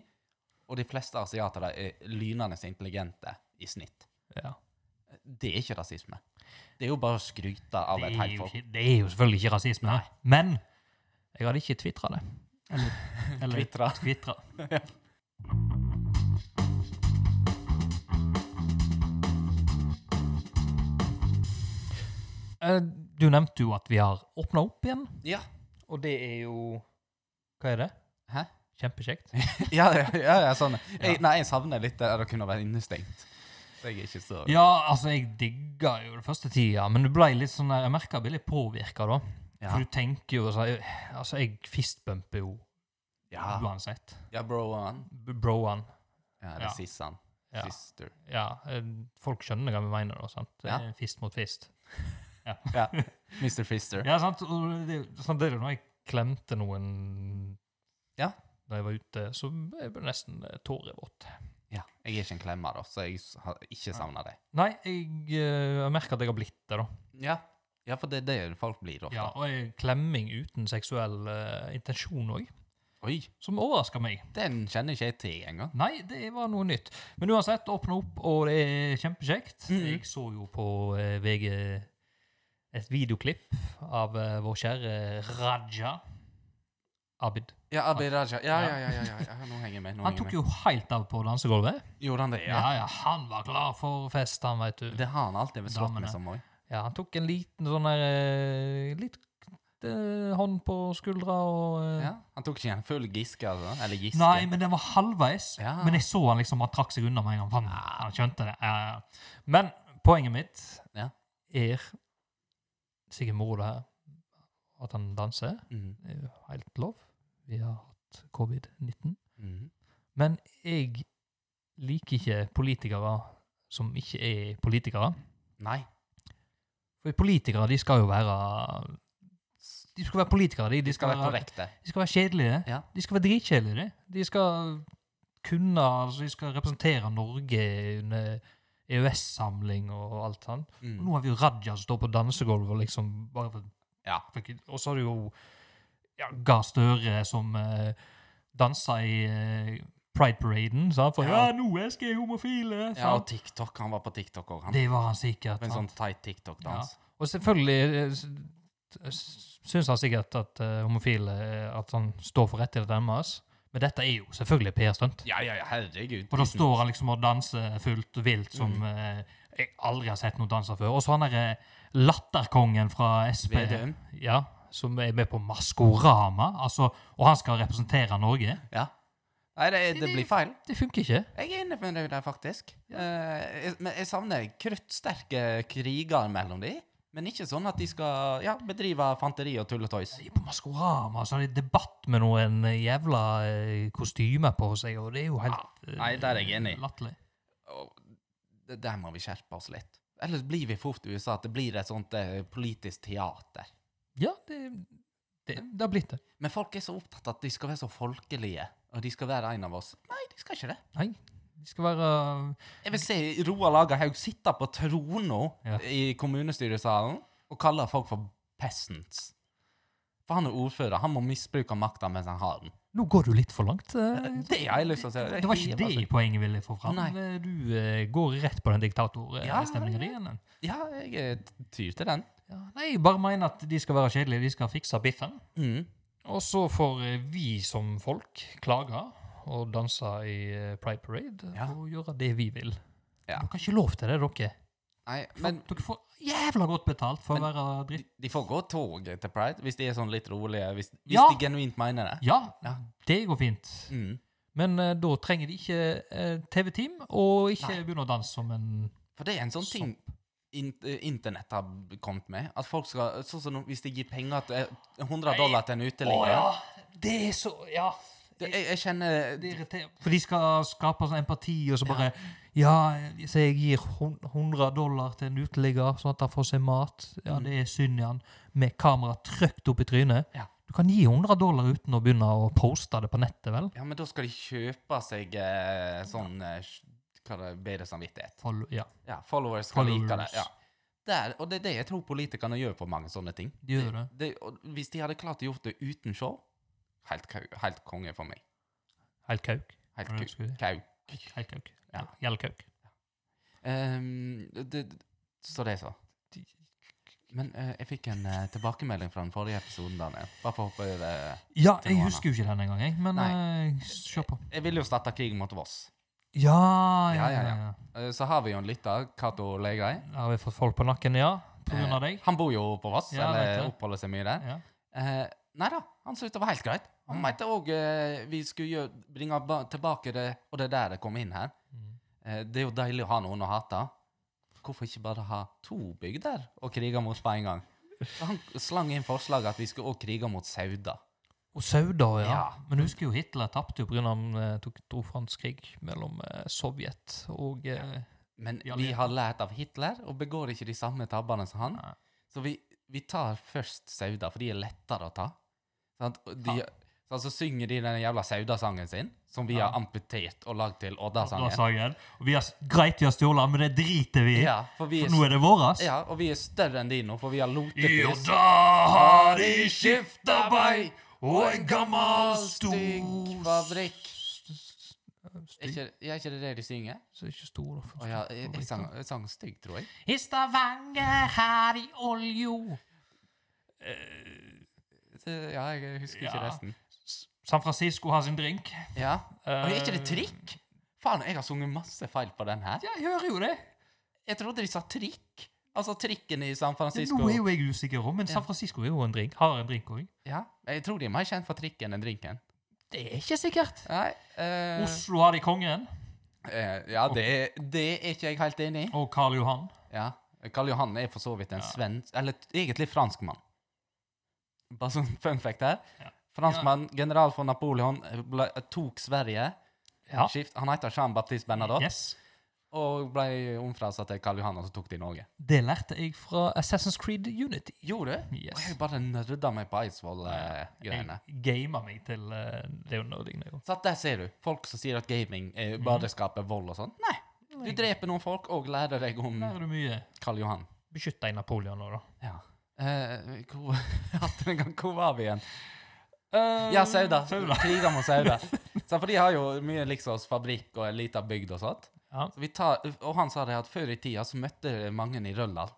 Speaker 3: og de fleste asiatere er lynende intelligente i snitt.
Speaker 2: Ja.
Speaker 3: Det er ikke rasisme. Det er jo bare å skryte av
Speaker 2: Det,
Speaker 3: et
Speaker 2: er
Speaker 3: helt
Speaker 2: jo
Speaker 3: folk.
Speaker 2: ikke, det er jo selvfølgelig ikke rasisme, men jeg hadde ikke tvitra det. Eller, eller
Speaker 3: Kvittra.
Speaker 2: tvitra. Eh, Du nevnte jo at vi har åpna opp igjen,
Speaker 3: Ja.
Speaker 2: og det er jo Hva er det?
Speaker 3: Hæ?
Speaker 2: Kjempekjekt.
Speaker 3: Ja, ja, ja, ja sånn. Jeg, nei, jeg savner litt det å kunne være innestengt. Så jeg er ikke så
Speaker 2: Ja, altså, jeg digga jo det første tida, men du ble litt sånn der, jeg merka jeg ble litt påvirka, da.
Speaker 3: Ja.
Speaker 2: For du tenker jo altså, jeg, altså, jeg fistbumper jo
Speaker 3: Ja,
Speaker 2: uansett.
Speaker 3: ja broan.
Speaker 2: B- Broan.
Speaker 3: Ja, det
Speaker 2: Ja.
Speaker 3: er sissan.
Speaker 2: Ja.
Speaker 3: Sister.
Speaker 2: Ja, eh, folk skjønner hva vi mener, da, sant? Det
Speaker 3: Ja.
Speaker 2: er Fist mot fist.
Speaker 3: Ja. Mr. Fister.
Speaker 2: Ja, sant? Og det, sant, det er jo når jeg klemte noen
Speaker 3: Ja.
Speaker 2: da jeg var ute, så jeg ble nesten eh, tårevåt.
Speaker 3: Ja. Jeg er ikke en klemmer, da, så jeg s- har ikke savna det.
Speaker 2: Nei, jeg, eh, jeg merker at jeg har blitt det, da.
Speaker 3: Ja. ja, for det er det folk blir ofte.
Speaker 2: Ja, og eh, klemming uten seksuell eh, intensjon òg,
Speaker 3: Oi,
Speaker 2: som overrasker meg.
Speaker 3: den kjenner ikke jeg til engang.
Speaker 2: Nei, det var noe nytt. Men uansett, åpne opp, og det er kjempekjekt.
Speaker 3: Mhm.
Speaker 2: Jeg så jo på eh, VG et videoklipp av eh, vår kjære Raja Abid.
Speaker 3: Ja, Abid Raja. Ja, ja, ja. ja, ja, ja. Nå henger jeg med. Nå
Speaker 2: Han
Speaker 3: henger
Speaker 2: tok
Speaker 3: jeg med.
Speaker 2: jo helt av på dansegulvet.
Speaker 3: Gjorde han det?
Speaker 2: Ja.
Speaker 3: Ja.
Speaker 2: ja, han var klar for fest, han, veit du.
Speaker 3: Det har han alltid slått
Speaker 2: Damene.
Speaker 3: med som òg.
Speaker 2: Ja, han tok en liten sånn der eh, Litt eh, hånd på skuldra og eh,
Speaker 3: Ja. Han tok ikke en full Giske, altså? Eller Giske?
Speaker 2: Nei, men den var halvveis.
Speaker 3: Ja. Ah.
Speaker 2: Men jeg så han liksom, han trakk seg unna med en gang. Han, han skjønte det. Ja, ja, ja. Men poenget mitt
Speaker 3: Ja.
Speaker 2: er sikkert moro det her. At han danser.
Speaker 3: Mhm.
Speaker 2: Det er jo helt lov. Vi har hatt covid-19.
Speaker 3: Mhm.
Speaker 2: Men jeg liker ikke politikere som ikke er politikere.
Speaker 3: Nei.
Speaker 2: For politikere, de skal jo være De skal være politikere, de.
Speaker 3: De skal være
Speaker 2: være
Speaker 3: korrekte.
Speaker 2: De skal være kjedelige.
Speaker 3: Ja.
Speaker 2: De skal være dritkjedelige. De skal kunne altså De skal representere Norge under EØS-samling og alt sånt. Og
Speaker 3: Mm.
Speaker 2: Nå har vi jo Raja som står på dansegulvet og liksom bare for,
Speaker 3: Ja.
Speaker 2: Og så har du jo ja, Gahr Støre som eh, dansa i eh, Pride-paraden. sant? For ja.
Speaker 3: Ja.
Speaker 2: nå elsker jeg homofile!
Speaker 3: ja, og
Speaker 2: sant?
Speaker 3: TikTok. Han var på TikTok òg, han.
Speaker 2: det var han sikkert.
Speaker 3: Med en
Speaker 2: sant?
Speaker 3: sånn tight TikTok-dans.
Speaker 2: Og selvfølgelig eh, s- s- syns han sikkert at eh, homofile eh, at han står for rett til å demme oss, men dette er jo selvfølgelig et PR-stunt.
Speaker 3: Ja, ja, ja, herregud.
Speaker 2: Og da står han liksom og danser fullt vilt som
Speaker 3: Mm.
Speaker 2: eh, jeg aldri har sett noen danser før. Og så han derre latterkongen fra SP,
Speaker 3: Vedum.
Speaker 2: ja, som er med på Maskorama, altså, og han skal representere Norge.
Speaker 3: Ja. Nei, det, det blir feil.
Speaker 2: Det funker ikke.
Speaker 3: Jeg er inne på det der, faktisk. Eh, jeg, men jeg savner kruttsterke kriger mellom de. Men ikke sånn at de skal ja, bedrive fanteri og tulletøys.
Speaker 2: De er på Maskorama, så har de debatt med noen jævla eh, kostymer på seg, og det er jo helt eh,
Speaker 3: Nei, der er jeg enig.
Speaker 2: Latterlig.
Speaker 3: Og det- Der må vi skjerpe oss litt. Ellers blir vi fort i USA at det blir et sånt eh, politisk teater.
Speaker 2: Ja, det, det, det har blitt det.
Speaker 3: Men folk er så opptatt at de skal være så folkelige, og de skal være en av oss. Nei, de skal ikke det.
Speaker 2: Nei, de skal være
Speaker 3: Jeg vil se Roar Lagerhaug sitte på trona
Speaker 2: Ja.
Speaker 3: i kommunestyresalen og kalle folk for peasants. For han er ordfører. Han må misbruke makta mens han har den.
Speaker 2: Nå går du litt for langt. eh.
Speaker 3: Det altså. har jeg lyst til å se.
Speaker 2: Det var ikke det poenget ville få fram.
Speaker 3: Nei.
Speaker 2: Eh, Du eh, går rett på den
Speaker 3: Ja,
Speaker 2: diktatorstemninga di. igjen.
Speaker 3: Ja, jeg eh, tyr til den.
Speaker 2: Ja, nei, jeg bare mener at de skal være kjedelige. De skal fikse biffen.
Speaker 3: Mm.
Speaker 2: Og så får eh, vi som folk klage og danse i eh, Pride Parade
Speaker 3: Ja.
Speaker 2: og gjøre det vi vil.
Speaker 3: Ja.
Speaker 2: Dere har ikke lov til det, dere.
Speaker 3: Nei, men
Speaker 2: Men, dere får jævla godt betalt for å
Speaker 3: Men-
Speaker 2: være dritt.
Speaker 3: de får gå toget til Pride hvis de er sånn litt rolige, hvis, hvis
Speaker 2: Ja.
Speaker 3: de genuint mener det.
Speaker 2: Ja,
Speaker 3: Ja.
Speaker 2: det går fint.
Speaker 3: Mm.
Speaker 2: Men eh, da trenger de ikke eh, TV-team, og ikke begynne å danse som en
Speaker 3: For det er en sånn ting in eh, internett har kommet med. At folk skal, sånn som nå, Hvis de gir penger til eh, 100 dollar til en uteligger
Speaker 2: Det er så Ja.
Speaker 3: Det- jeg, jeg kjenner
Speaker 2: Det irriterer. For de skal skape sånn empati, og så bare Ja, så jeg gir hun- 100 dollar til en uteligger, sånn at han får seg mat.
Speaker 3: Mm.
Speaker 2: Ja, det er synd i han. Med kamera trykt opp i trynet.
Speaker 3: Ja.
Speaker 2: Du kan gi 100 dollar uten å begynne å poste det på nettet, vel?
Speaker 3: Ja, men da skal de kjøpe seg eh, sånn eh, sj- hva det, bedre samvittighet.
Speaker 2: Fol- Ja,
Speaker 3: Ja, followers skal like det.
Speaker 2: Followers.
Speaker 3: Ja. Der, og det er det jeg tror politikerne gjør på mange sånne ting.
Speaker 2: de gjør det.
Speaker 3: Det, og hvis de hadde klart å gjort det uten show, helt, kau- helt konge for meg.
Speaker 2: Helt kauk.
Speaker 3: Helt
Speaker 2: Hva er det
Speaker 3: ku-
Speaker 2: du skulle si?
Speaker 3: kau.
Speaker 2: Helt kauk.
Speaker 3: Ja.
Speaker 2: Ja, Gjeld kauk.
Speaker 3: Ehm, det, det- så det er så. Men eh, jeg fikk en eh, tilbakemelding fra den forrige episoden, Daniel. Bare for å hoppe over eh,
Speaker 2: Ja, jeg
Speaker 3: Det var
Speaker 2: husker jo ikke den engang, jeg. Men eh, se på.
Speaker 3: Jeg ville jo starte krig mot Voss.
Speaker 2: Ja, ja,
Speaker 3: Ja,
Speaker 2: ja.
Speaker 3: ja, ja.
Speaker 2: ja.
Speaker 3: Eh, så har vi jo en lytter, Cato Legrei.
Speaker 2: Da Har vi fått folk på nakken, ja? På grunn av
Speaker 3: Eh,
Speaker 2: deg?
Speaker 3: Han bor jo på Voss,
Speaker 2: Ja, jeg vet
Speaker 3: eller
Speaker 2: det.
Speaker 3: oppholder seg mye der.
Speaker 2: Ja.
Speaker 3: Eh, nei da, han syntes det var helt greit.
Speaker 2: Mm.
Speaker 3: Han mente òg eh, vi skulle gjøre, bringe ba tilbake det, og det er der det kom inn her.
Speaker 2: Mm.
Speaker 3: Eh, det er jo deilig å ha noen å hate. Hvorfor ikke bare ha to bygder å krige mot på en gang? Så han slang inn forslaget at vi skulle òg krige mot Sauda.
Speaker 2: Og Sauda, ja.
Speaker 3: Ja.
Speaker 2: Men du husker jo Hitler tapte jo pga. han eh, tok trofandskrig mellom eh, Sovjet og eh,
Speaker 3: Men
Speaker 2: Ja,
Speaker 3: vi
Speaker 2: det-
Speaker 3: har lært av Hitler og begår ikke de samme tabbene som han.
Speaker 2: Nei.
Speaker 3: Så vi, vi tar først Sauda, for de er lettere å ta. Sant? Og De,
Speaker 2: Ja.
Speaker 3: Så altså synger de den jævla Sauda-sangen sin, som vi
Speaker 2: Ja.
Speaker 3: har amputert og lagd til
Speaker 2: Odda
Speaker 3: Odda-sangen.
Speaker 2: Sagen. Og vi har, s- greit, vi har stjålet, den, men det driter vi i.
Speaker 3: Ja, for vi
Speaker 2: For
Speaker 3: er,
Speaker 2: nå er det våres.
Speaker 3: ja, og vi er større enn de nå, for vi har lotet
Speaker 2: Jo,
Speaker 3: hus.
Speaker 2: da har de skifta vei, og en gammel stor
Speaker 3: Stygg fabrikk. Er
Speaker 2: Stygg?
Speaker 3: ikke, ja, er ikke det det de synger?
Speaker 2: Så ikke stor, da.
Speaker 3: Å ja, jeg, jeg, sang, jeg sang stygg, tror jeg.
Speaker 2: I Stavanger her i oljo.
Speaker 3: Så, ja, jeg husker ikke
Speaker 2: Ja.
Speaker 3: resten.
Speaker 2: S- San Francisco har sin drink. Eh,
Speaker 3: Ja. Og er ikke det trikk? Faen, jeg har sunget masse feil på den her.
Speaker 2: Ja, jeg hører jo det.
Speaker 3: Jeg trodde de sa trikk. Altså trikken i San Francisco.
Speaker 2: Nå er jo jeg usikker om, men San Francisco er jo en drink. har en drink òg.
Speaker 3: Ja, jeg tror de er mer kjent for trikken enn drinken.
Speaker 2: Det er ikke sikkert.
Speaker 3: Nei, eh,
Speaker 2: Oslo har de kongen,
Speaker 3: eh, ja, det, det er ikke jeg helt enig i.
Speaker 2: og Karl Johan.
Speaker 3: Ja. Karl Johan er for så vidt en svensk Eller t- egentlig franskmann. Bare sånn fun fact her.
Speaker 2: Ja.
Speaker 3: Franskmann, general for Napoleon, eh, ble, tok Sverige.
Speaker 2: Ja.
Speaker 3: Skift, han heter Jean-Baptiste Bernadotte.
Speaker 2: Yes.
Speaker 3: Og ble omfrasa til Karl Johan, og så tok de Norge.
Speaker 2: Det lærte jeg fra Assassin's Creed Unity.
Speaker 3: Gjorde du?
Speaker 2: Yes.
Speaker 3: Og Jeg bare nerda meg på Eidsvoll-greiene.
Speaker 2: Jeg gamer meg til eh, Det er jo nerding, det er jo.
Speaker 3: Så at der ser du. Folk som sier at gaming eh,
Speaker 2: Mhm.
Speaker 3: bare skaper vold og sånn. Nei. Du dreper noen folk og lærer deg om
Speaker 2: Lærer du mye.
Speaker 3: Karl Johan.
Speaker 2: Beskytt deg, Napoleon, nå, da.
Speaker 3: Ja. Eh, hvor, at en gang, hvor var vi igjen?
Speaker 2: Eh,
Speaker 3: Ja, Sauda.
Speaker 2: Sauda.
Speaker 3: Kriger mot Sauda. Så for de har jo mye liksom fabrikk og en liten bygd og sånt.
Speaker 2: Ja.
Speaker 3: Så vi tar, og han sa det at før i tida så møtte mange i Røldal.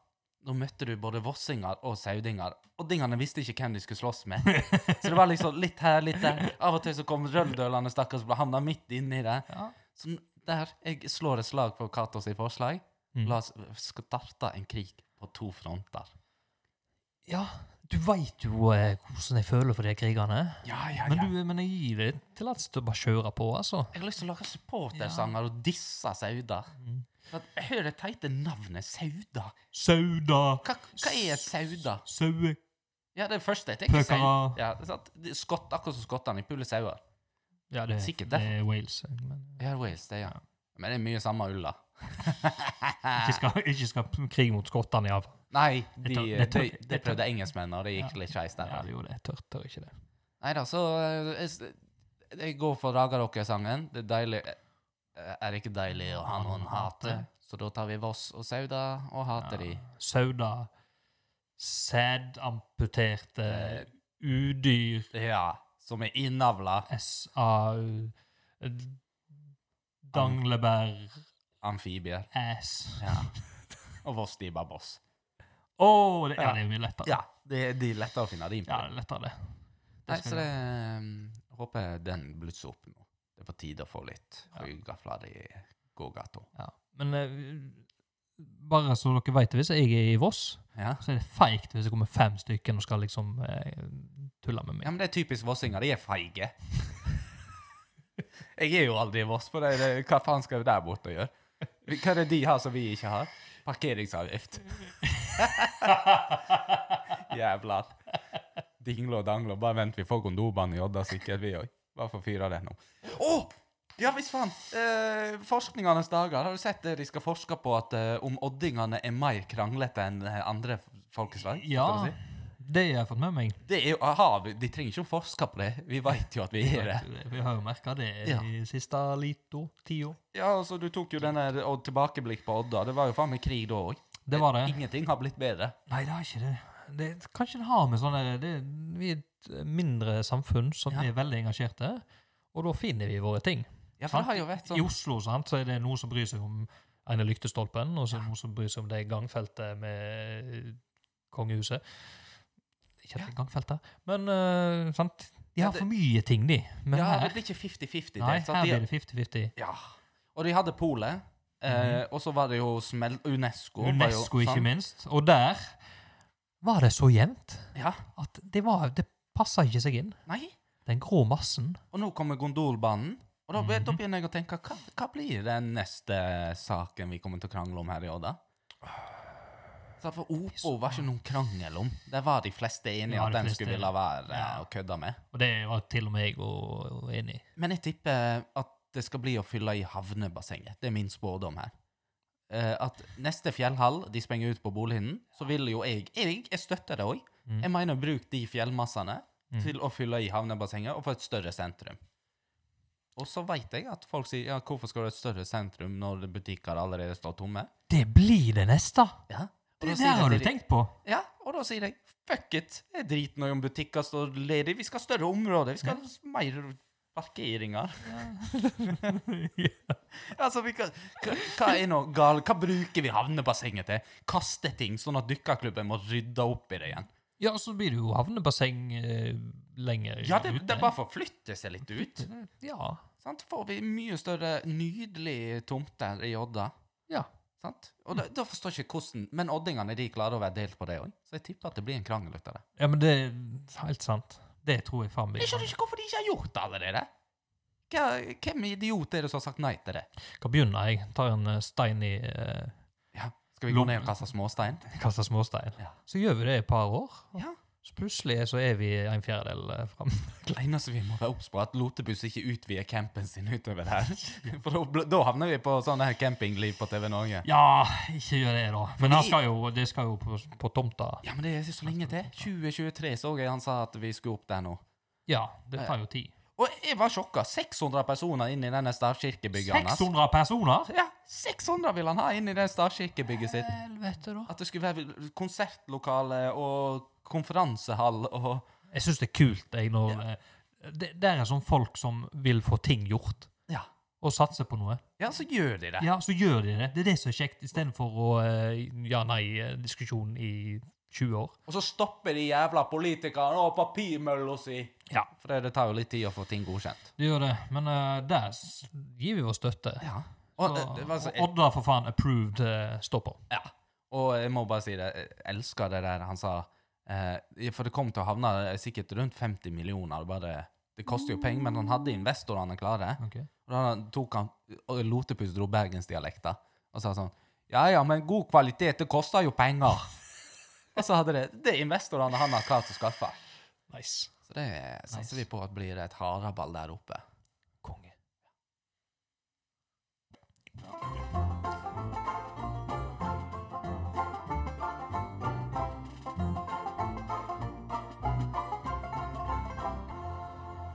Speaker 3: Da møtte du både vossinger og saudinger, og dingene visste ikke hvem de skulle slåss med. Så det var liksom litt her, litt der. Av og til så kom røldølene, stakkars, ble havna midt inni det.
Speaker 2: Ja.
Speaker 3: Så der jeg slår et slag på Kato sitt forslag.
Speaker 2: Mm.
Speaker 3: La oss starte en krig på to fronter.
Speaker 2: ja. Du veit jo eh, hvordan jeg føler for de krigerne.
Speaker 3: Ja, ja,
Speaker 2: Men, du, men jeg gir deg tillatelse til å bare kjøre på, altså. Mm.
Speaker 3: Jeg har lyst til å lage supportersanger og disse sauder. For at Jeg hører det teite navnet Sauda.
Speaker 2: Sauda,
Speaker 3: Hva, hva er et sauda?
Speaker 2: saue
Speaker 3: Ja, det er det første jeg tenker.
Speaker 2: Pøkere.
Speaker 3: sau- Ja, det er sant. Det er Skott, akkurat som skottene. De puler sauer.
Speaker 2: Ja, det,
Speaker 3: Sikkert
Speaker 2: Eh, det
Speaker 3: derfor.
Speaker 2: er Wales. eh, Men
Speaker 3: Ja, Wales, det, ja.
Speaker 2: Ja.
Speaker 3: Men det er mye samme ulla. Eh.
Speaker 2: ikke skal, ikke skal på krig mot skottene, iallfall.
Speaker 3: Nei,
Speaker 2: Det
Speaker 3: de,
Speaker 2: tør-
Speaker 3: de,
Speaker 2: det tør-
Speaker 3: de,
Speaker 2: det tør-
Speaker 3: prøvde engelskmennene, og det gikk litt skeis der.
Speaker 2: Ja, det gjorde det. Jeg tør, tør ikke det.
Speaker 3: Nei da, så eh, jeg, s- jeg går for Ragarokke-sangen. Det er deilig eh, Er det ikke deilig å ha noen hate? Så da tar vi Voss og Sauda og hater de.
Speaker 2: Sauda, sædamputerte
Speaker 3: Eh.
Speaker 2: udyr
Speaker 3: Ja. Som er innavla
Speaker 2: SAU Danglebær
Speaker 3: amfibier.
Speaker 2: ass.
Speaker 3: Ja. Og Voss, de er bare Voss.
Speaker 2: Å, det, ja,
Speaker 3: Ja.
Speaker 2: det er jo mye lettere.
Speaker 3: Ja, det er de er lettere å finne rim på.
Speaker 2: Ja, det er lettere, det.
Speaker 3: Nei,
Speaker 2: skal
Speaker 3: så
Speaker 2: vi-
Speaker 3: det eh, håper jeg den blusser opp nå. Det er på tide å få litt
Speaker 2: Ja.
Speaker 3: høygafler i gågata.
Speaker 2: Ja. Men eh, bare så dere vet det, hvis jeg er i Voss,
Speaker 3: Ja.
Speaker 2: så er det feigt hvis det kommer fem stykker og skal liksom eh, tulle med
Speaker 3: Ja,
Speaker 2: meg.
Speaker 3: men det er typisk vossinger. De er feige. jeg er jo aldri i Voss, for det, det, hva faen skal vi der borte gjøre? Hva er det de har som vi ikke har? Parkeringsavgift. Jævlar. Dingle og dangle. Bare vent, vi får kondomene i Odda sikkert, vi òg. Bare for å fyre det nå. Å! Ja visst faen! Eh, forskningenes dager. Har du sett det de skal forske på at eh, om oddingene er mer kranglete enn eh, andre folkeslag?
Speaker 2: Ja,
Speaker 3: skal vi si?
Speaker 2: det har jeg fått med meg.
Speaker 3: Det er jo, aha, vi- De trenger ikke å forske på det. Vi veit jo at vi er det.
Speaker 2: Vi har jo merka det
Speaker 3: Ja.
Speaker 2: i siste lito, tiår.
Speaker 3: Ja, altså, Du tok jo den der og tilbakeblikk på Odda. Det var jo faen meg krig da òg.
Speaker 2: Det var det.
Speaker 3: Ingenting har blitt bedre.
Speaker 2: Nei, det er ikke det. det kanskje det har med sånn der det, Vi er et mindre samfunn som
Speaker 3: Ja.
Speaker 2: er veldig engasjerte, og da finner vi våre ting.
Speaker 3: Ja, for det har jo vært
Speaker 2: I
Speaker 3: sånn.
Speaker 2: Oslo sant, så er det noen som bryr seg om ene lyktestolpen, og så er det noen som bryr seg om det gangfeltet med eh, kongehuset. Ikke at det er gangfeltet, men eh, sant? De
Speaker 3: Ja,
Speaker 2: har
Speaker 3: det-
Speaker 2: for mye ting, de. Men
Speaker 3: Ja, det
Speaker 2: her,
Speaker 3: blir ikke 50-50.
Speaker 2: nei,
Speaker 3: det, sant?
Speaker 2: her
Speaker 3: De-
Speaker 2: blir det 50-50.
Speaker 3: Ja. Og de hadde polet. Eh, Og så var det jo smell... UNESCO. var jo- sånn-
Speaker 2: UNESCO, ikke
Speaker 3: sant?
Speaker 2: minst. Og der var det så jevnt
Speaker 3: Ja.
Speaker 2: at det, var- det passa ikke seg inn.
Speaker 3: Nei.
Speaker 2: Den grå massen
Speaker 3: Og nå kommer gondolbanen. Og da, da
Speaker 2: Mhm.
Speaker 3: begynner jeg å tenke hva, hva blir den neste saken vi kommer til å krangle om her i Odda? Så for Opo var ikke noen krangel om. Der var de fleste enige
Speaker 2: Ja,
Speaker 3: at
Speaker 2: de
Speaker 3: den
Speaker 2: fleste
Speaker 3: skulle
Speaker 2: enige.
Speaker 3: ville være eh,
Speaker 2: Ja.
Speaker 3: å kødde med.
Speaker 2: Og det var til og med jeg og- og enig i.
Speaker 3: Men jeg tipper at det skal bli å fylle i havnebassenget. Det er min spådom her. Eh, at neste fjellhall de sprenger ut på Bolhinden, så vil jo jeg Jeg, jeg støtter det òg.
Speaker 2: Mm.
Speaker 3: Jeg mener, bruk de fjellmassene
Speaker 2: Mm.
Speaker 3: til å fylle i havnebassenget og få et større sentrum. Og så veit jeg at folk sier ja, hvorfor skal du ha et større sentrum når butikker allerede står tomme?
Speaker 2: Det blir det neste!
Speaker 3: Ja. Og da
Speaker 2: Det
Speaker 3: sier
Speaker 2: der har du
Speaker 3: jeg til de-
Speaker 2: tenkt på!
Speaker 3: Ja, og da sier jeg fuck it. Jeg driter nå i om butikker står ledig. Vi skal ha større områder. Vi skal ha mer parkeringer. Altså, vi kan, hva, hva er nå gal? Hva bruker vi havnebassenget til? Kaste ting, sånn at dykkerklubben må rydde opp i det igjen.
Speaker 2: Ja, så blir det jo havnebasseng eh, lenger
Speaker 3: Ja, det,
Speaker 2: ute.
Speaker 3: det bare forflytter seg litt ut.
Speaker 2: Ja.
Speaker 3: Sant? Får vi mye større, nydelige tomter i Odda.
Speaker 2: Ja.
Speaker 3: Sant? Og da, da forstår jeg ikke hvordan Men oddingene de klarer å være delt på det òg, så jeg tipper at det blir en krangel ut av det.
Speaker 2: ja, men det er helt sant. Det tror jeg faen blir
Speaker 3: Jeg skjønner ikke hvorfor de ikke har gjort det allerede. Hva, hvem idiot er det som har sagt nei til det?
Speaker 2: Skal begynne, jeg. Tar en eh, stein i eh,
Speaker 3: Ja, Skal vi gå ned og kaste småstein?
Speaker 2: Kaster småstein.
Speaker 3: Ja.
Speaker 2: Så gjør vi det i et par år.
Speaker 3: Ja.
Speaker 2: Så plutselig så er vi en fjerdedel eh, fram.
Speaker 3: Det eneste vi må være obs på, er at Lotebuss ikke utvider campen sin utover der. For da, bl- da havner vi på sånn her campingliv på TV Norge.
Speaker 2: Ja, ikke gjør det, da. Men det skal jo, det skal jo på, på tomta.
Speaker 3: Ja, men det er så lenge til. 2023 så jeg han sa at vi skulle opp der nå.
Speaker 2: Ja, det tar jo tid.
Speaker 3: Og jeg var sjokka. 600 personer inn i denne stavkirkebygget hans.
Speaker 2: 600 personer?
Speaker 3: Ja, 600 vil han ha inn i det stavkirkebygget sitt.
Speaker 2: Helvete, da.
Speaker 3: At det skulle være konsertlokale og konferansehall og
Speaker 2: Jeg syns det er kult, jeg, når eh, det, det er sånn folk som vil få ting gjort,
Speaker 3: Ja,
Speaker 2: og satse på noe.
Speaker 3: ja så gjør de det.
Speaker 2: Ja, så gjør de det. Det er det som er kjekt, istedenfor å eh, ja-nei-diskusjon i 20 år.
Speaker 3: Og så stopper de jævla politikerne og papirmølla si.
Speaker 2: Ja,
Speaker 3: For det- det tar jo litt tid å få ting godkjent.
Speaker 2: det gjør det. Men eh, der s- gir vi vår støtte.
Speaker 3: Ja.
Speaker 2: Så,
Speaker 3: Og, eh, det var så,
Speaker 2: og Odda, for faen, approved eh, stopper.
Speaker 3: ja. og jeg må bare si det, jeg elsker det der han sa. Eh, for det kom til å havne eh, sikkert rundt 50 millioner. Det, bare, det koster jo penger, men han hadde investorene klare.
Speaker 2: Ok.
Speaker 3: Og da tok han og Lotepus dro bergensdialekta. Og og sa sånn Ja ja, men god kvalitet, det koster jo penger. og så hadde det Det er investorene han har klart å skaffe.
Speaker 2: Nice.
Speaker 3: Så det satser vi på at blir et haraball der oppe.
Speaker 2: Konge.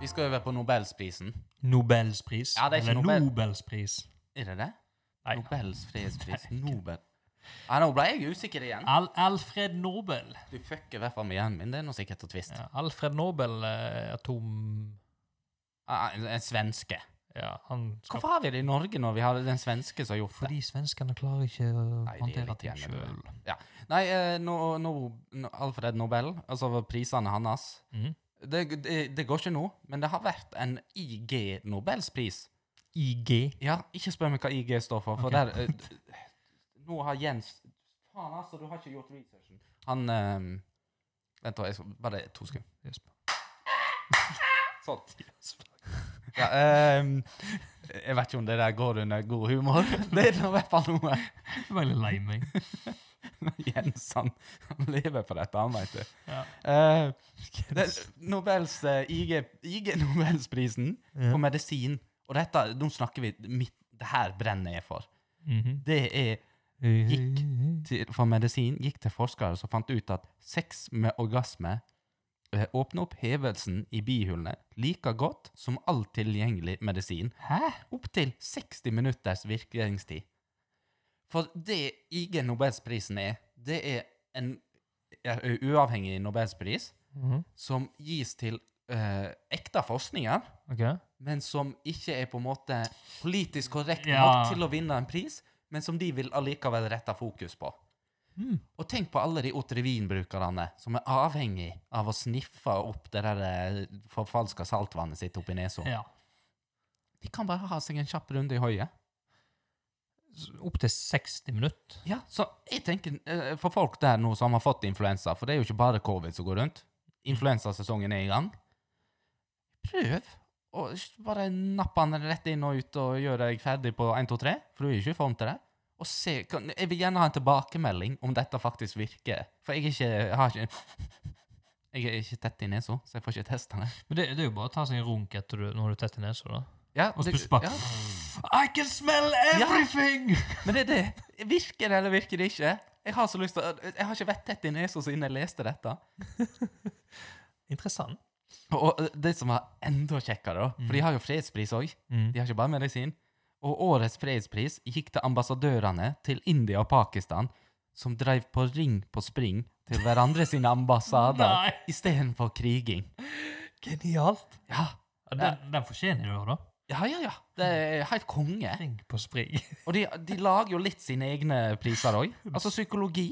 Speaker 3: Vi skal over på Nobelsprisen.
Speaker 2: Nobels pris.
Speaker 3: Ja, det er ikke
Speaker 2: Eller
Speaker 3: Nobel.
Speaker 2: Nobels pris.
Speaker 3: Er det det?
Speaker 2: Nei.
Speaker 3: Nobels fredspris. Nobel. Nei, nå ble jeg usikker igjen.
Speaker 2: Al Alfred Nobel.
Speaker 3: Du fucker i hvert fall med hjernen min. Det er nå sikkert å tvist.
Speaker 2: Ja, Alfred Nobel eh, atom...
Speaker 3: Ah, En en svenske.
Speaker 2: Ja, han skal...
Speaker 3: Hvorfor har vi det i Norge når vi har den svenske som har gjort det?
Speaker 2: Fordi svenskene klarer ikke å
Speaker 3: Nei, de er
Speaker 2: håndtere
Speaker 3: litt
Speaker 2: ting
Speaker 3: gjerne
Speaker 2: sjøl.
Speaker 3: døde. Nei, eh, nå- nå- nå- Alfred Nobel, altså prisene hans
Speaker 2: Mhm.
Speaker 3: det, det, det går ikke nå, men det har vært en IG Nobelspris.
Speaker 2: IG.
Speaker 3: Ja, ikke spør meg hva IG står for, for
Speaker 2: Ok.
Speaker 3: der eh, d- Nå har Jens Faen, altså, du har ikke gjort researchen. Han eh, Vent, da. Jeg skal, bare to sekunder.
Speaker 2: Jesper.
Speaker 3: Sånn. Ja, ehm, jeg vet ikke om det der går under god humor. Det er nå i hvert fall noe.
Speaker 2: Jeg er veldig lei meg.
Speaker 3: Jens, han, han lever på dette, han, veit du.
Speaker 2: Ja.
Speaker 3: Eh, det, Nobels, eh, IG, IG Nobelsprisen på medisin, og dette, nå snakker vi mitt, Det her brenner jeg for.
Speaker 2: Mhm.
Speaker 3: Det er til, for medisin gikk til forskere som fant ut at sex med orgasme eh, åpner opp hevelsen i bihulene like godt som all tilgjengelig medisin. Hæ? Opptil 60 minutters virkningstid. For det IG Nobelsprisen er, det er en ja, u- uavhengig nobelspris
Speaker 2: Mhm.
Speaker 3: som gis til eh, ekte forskninger,
Speaker 2: Ok.
Speaker 3: men som ikke er på en måte politisk korrekt
Speaker 2: Ja.
Speaker 3: nok til å vinne en pris, men som de vil allikevel rette fokus på.
Speaker 2: Mm.
Speaker 3: Og tenk på alle de Otrivin-brukerne som er avhengig av å sniffe opp det der eh, forfalska saltvannet sitt oppi nesa.
Speaker 2: Ja.
Speaker 3: De kan bare ha seg en kjapp runde i høyet.
Speaker 2: Opptil 60 minutter.
Speaker 3: Ja, så jeg tenker, eh, For folk der nå som har fått influensa, for det er jo ikke bare covid som går rundt Influensasesongen er i gang. Prøv å s- bare nappe den rett inn og ut og gjøre deg ferdig på 1, 2, 3, for du er ikke i form til det. Og se, kan, Jeg vil gjerne ha en tilbakemelding om dette faktisk virker. For jeg er ikke, jeg har ikke Jeg er ikke tett i nesa, så jeg får ikke testa det.
Speaker 2: Men det, det er jo bare å ta seg en runk etter du, når du tetter nesa, da.
Speaker 3: Ja,
Speaker 2: Og så
Speaker 3: det-
Speaker 2: plutselig bare
Speaker 3: ja.
Speaker 2: I can smell everything!
Speaker 3: Men det er det. Virker det, eller virker det ikke? Jeg har så lyst til å Jeg har ikke vært tett i nesa siden jeg leste dette.
Speaker 2: Interessant.
Speaker 3: Og eh, det som var enda kjekkere, da, for de har jo fredspris òg.
Speaker 2: Mm.
Speaker 3: De har ikke bare medisin. Og årets fredspris gikk til ambassadørene til India og Pakistan, som drev på ring på spring til hverandre sine ambassader
Speaker 2: Nei.
Speaker 3: istedenfor kriging.
Speaker 2: Genialt.
Speaker 3: Ja,
Speaker 2: Ja, den, den fortjener du, da.
Speaker 3: ja, ja. ja. Det er helt konge.
Speaker 2: Ring på spring.
Speaker 3: Og de, de lager jo litt sine egne priser òg. Altså psykologi.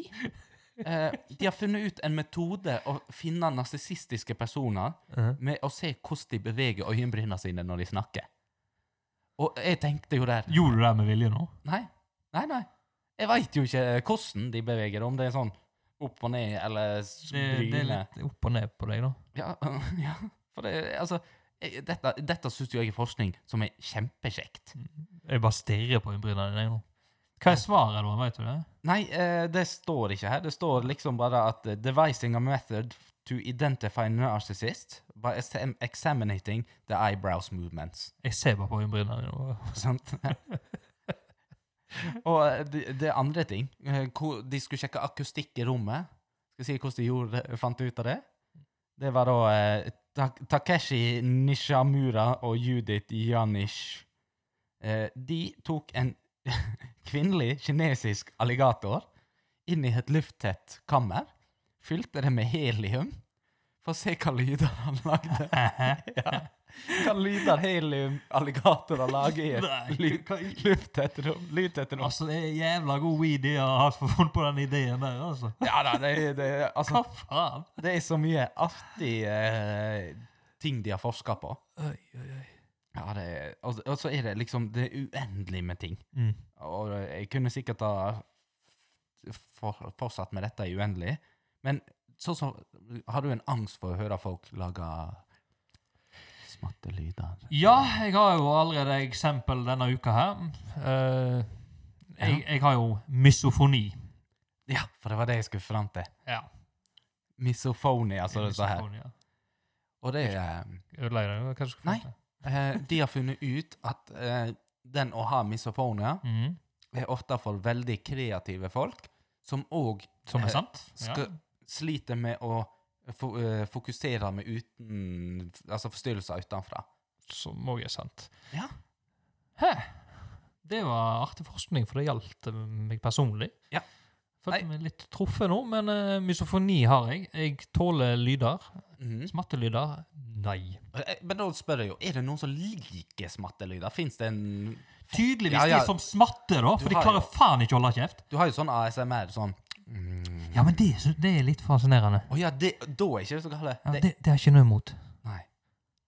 Speaker 3: Eh, de har funnet ut en metode å finne narsissistiske personer med å se hvordan de beveger øyenbrynene sine når de snakker. Og jeg tenkte jo der
Speaker 2: Gjorde du det med vilje nå?
Speaker 3: Nei, nei. nei. Jeg veit jo ikke hvordan de beveger, om det er sånn opp og ned eller
Speaker 2: Det, det er
Speaker 3: bryne.
Speaker 2: litt opp og ned på deg, da.
Speaker 3: Ja, ja, for det altså jeg- Dette, dette syns jo jeg er forskning som er kjempekjekt.
Speaker 2: Mm. Jeg bare stirrer på øyenbrynene dine jeg, nå. Hva er svaret, da? Vet du det?
Speaker 3: Nei, eh, det står ikke her. Det står liksom bare at eh, devising a method to identify narcissist by exam- examining the eyebrows movements.
Speaker 2: Jeg ser bare på øyenbrynene dine. nå.
Speaker 3: Sant? Og eh, det det er andre ting. Eh, hvor- De skulle sjekke akustikk i rommet. Skal jeg si hvordan de gjorde, det- fant ut av det? Det var da eh, Ta- Takeshi Nishamura og Judith Janish. Eh, de tok en kvinnelig kinesisk alligator inn i et lufttett kammer, fylte det med helium, for å se hva lyder han lagde. ja. Hva lyder helium-alligatorer lager i
Speaker 2: Nei,
Speaker 3: et lu- lufttett rom? Lydtett rom.
Speaker 2: Altså, det er jævla god idé jeg har funnet på den ideen der, altså.
Speaker 3: Ja da, det, er- det, er- altså,
Speaker 2: Hva faen?
Speaker 3: det er så mye artige eh, ting de har forska på.
Speaker 2: Oi, oi, oi.
Speaker 3: Ja, det er, og, og så er det liksom Det er uendelig med ting.
Speaker 2: Mm.
Speaker 3: Og jeg kunne sikkert ha for, fortsatt med dette i uendelig. Men sånn som Har du en angst for å høre folk lage smattelyder?
Speaker 2: Ja, jeg har jo allerede eksempel denne uka her. Eh, Jeg, jeg har jo misofoni.
Speaker 3: Ja, for det var det jeg skulle fram til.
Speaker 2: Ja.
Speaker 3: Misofoni, altså det står her.
Speaker 2: misofoni, ja.
Speaker 3: Og det er eh,
Speaker 2: Ødela jeg det? Hva skal du
Speaker 3: Nei.
Speaker 2: fortelle?
Speaker 3: eh, De har funnet ut at eh, den å ha misofonia
Speaker 2: Mhm.
Speaker 3: er ofte for veldig kreative folk, som òg
Speaker 2: Som
Speaker 3: Eh,
Speaker 2: er sant?
Speaker 3: skal- sliter med å fo eh, fokusere med uten Altså forstyrrelser utenfra.
Speaker 2: Som òg er sant.
Speaker 3: Ja.
Speaker 2: Hæ? Det var artig forskning, for det gjaldt eh, meg personlig.
Speaker 3: Ja.
Speaker 2: Følte meg litt truffet nå, men eh, misofoni har jeg. Jeg tåler lyder.
Speaker 3: Mhm.
Speaker 2: Smattelyder? Nei.
Speaker 3: Eh, Men da spør jeg jo, er det noen som liker smattelyder? Fins det en
Speaker 2: Tydeligvis
Speaker 3: Ja, ja.
Speaker 2: de som smatter, da,
Speaker 3: Du
Speaker 2: for de
Speaker 3: har
Speaker 2: klarer faen ikke å holde kjeft.
Speaker 3: Du har jo sånn ASMR, sånn mm.
Speaker 2: Ja, men det, sy- det er litt fascinerende.
Speaker 3: Å ja, det, da er ikke det så galt.
Speaker 2: Ja,
Speaker 3: Det-
Speaker 2: det, det er ikke noe imot.
Speaker 3: Nei.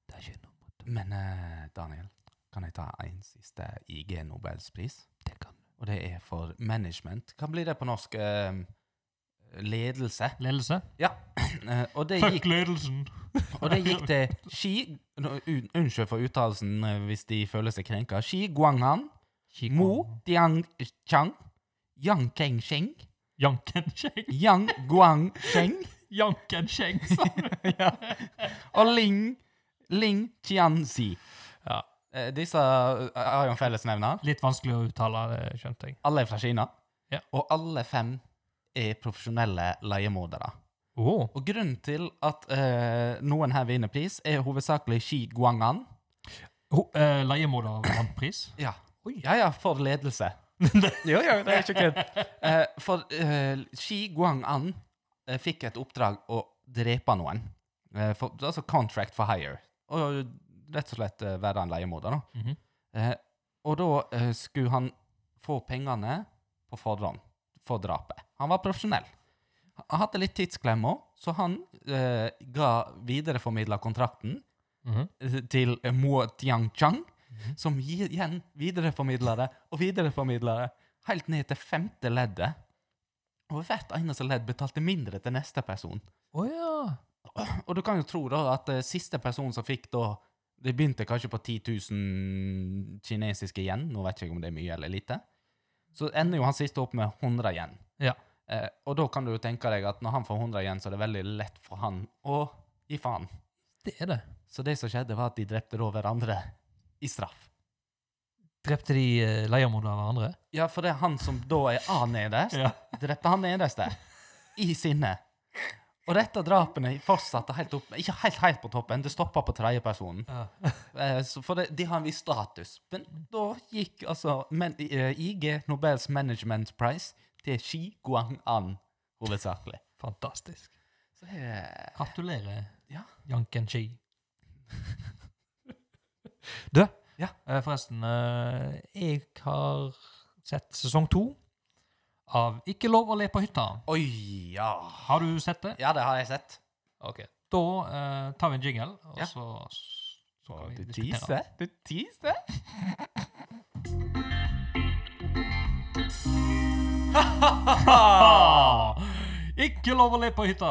Speaker 2: Det er ikke noe imot.
Speaker 3: Men eh, Daniel, kan jeg ta en siste IG Nobelspris?
Speaker 2: Det kan
Speaker 3: Og det er for management. Hva blir det på norsk? Eh, ledelse.
Speaker 2: Ledelse?
Speaker 3: Eh, og, det
Speaker 2: Fuck
Speaker 3: gikk,
Speaker 2: ledelsen!
Speaker 3: og det gikk til Xi Nå, un- Unnskyld for uttalelsen eh, hvis de føler seg krenka. Xi Guanghan, Mo Diang Chang, Yang Kengsheng,
Speaker 2: Jankenskjeng!
Speaker 3: Yang Guangsheng
Speaker 2: Jankenskjeng, sa du!
Speaker 3: og Ling Ling Qianzi.
Speaker 2: Ja.
Speaker 3: Eh, disse eh, har jo en fellesnevner.
Speaker 2: Litt vanskelig å uttale, det skjønte jeg.
Speaker 3: Alle er fra Kina.
Speaker 2: Ja.
Speaker 3: Og alle fem er profesjonelle leiemordere.
Speaker 2: Oh.
Speaker 3: Og grunnen til at eh, noen her vinner pris, er hovedsakelig Xi Guang'an.
Speaker 2: Ho- eh, Leiemorder vant pris.
Speaker 3: Ja.
Speaker 2: Oi.
Speaker 3: ja, ja, for ledelse. jo, jo, det er ikke kødd. Eh, for eh, Xi Guang'an eh, fikk et oppdrag å drepe noen. Eh, for, altså contract for hire. Og rett og slett eh, være en leiemorder, da.
Speaker 2: Mhm.
Speaker 3: Eh, og da eh, skulle han få pengene på forhånd for drapet. Han var profesjonell. Han hadde litt tidsklemme, så han eh, ga videreformidla kontrakten
Speaker 2: Mhm.
Speaker 3: eh, til eh, Mo Tiangchang, som gi- igjen videreformidla det og videreformidla det helt ned til femte leddet. Og hvert eneste ledd betalte mindre til neste person.
Speaker 2: Å ja.
Speaker 3: Og du kan jo tro da at eh, siste person som fikk da Det begynte kanskje på 10 000 kinesiske yen. Nå vet jeg ikke om det er mye eller lite. Så ender jo han siste opp med 100 yen.
Speaker 2: Ja.
Speaker 3: Eh, og da kan du jo tenke deg at når han får 100 yen, så er det veldig lett for han å gi faen.
Speaker 2: Det er det.
Speaker 3: Så det som skjedde, var at de drepte da hverandre i straff.
Speaker 2: Drepte de eh, leiemordere hverandre?
Speaker 3: Ja, for det er han som da er A nederst,
Speaker 2: Ja.
Speaker 3: drepte han nederste i sinne. Og dette drapene fortsatte helt opp, ikke helt, helt på toppen, det stoppa på tredjepersonen. Eh, så For det, de har en viss status. Men da gikk altså men, eh, IG, Nobels Management Prize, til Xi Guang'an hovedsakelig.
Speaker 2: Fantastisk.
Speaker 3: Så det er
Speaker 2: Gratulerer,
Speaker 3: Ja.
Speaker 2: Janken Chi. du,
Speaker 3: Ja.
Speaker 2: eh, forresten. eh, Jeg har sett sesong to av Ikke lov å le på hytta.
Speaker 3: Oi, ja.
Speaker 2: Har du sett det?
Speaker 3: Ja, det har jeg sett.
Speaker 2: Ok. Da eh, tar vi en jingle, og
Speaker 3: Ja.
Speaker 2: så, så kan vi
Speaker 3: Du
Speaker 2: diskutere.
Speaker 3: teaser. Du teaser.
Speaker 2: Ah! Ikke lov å le på hytta!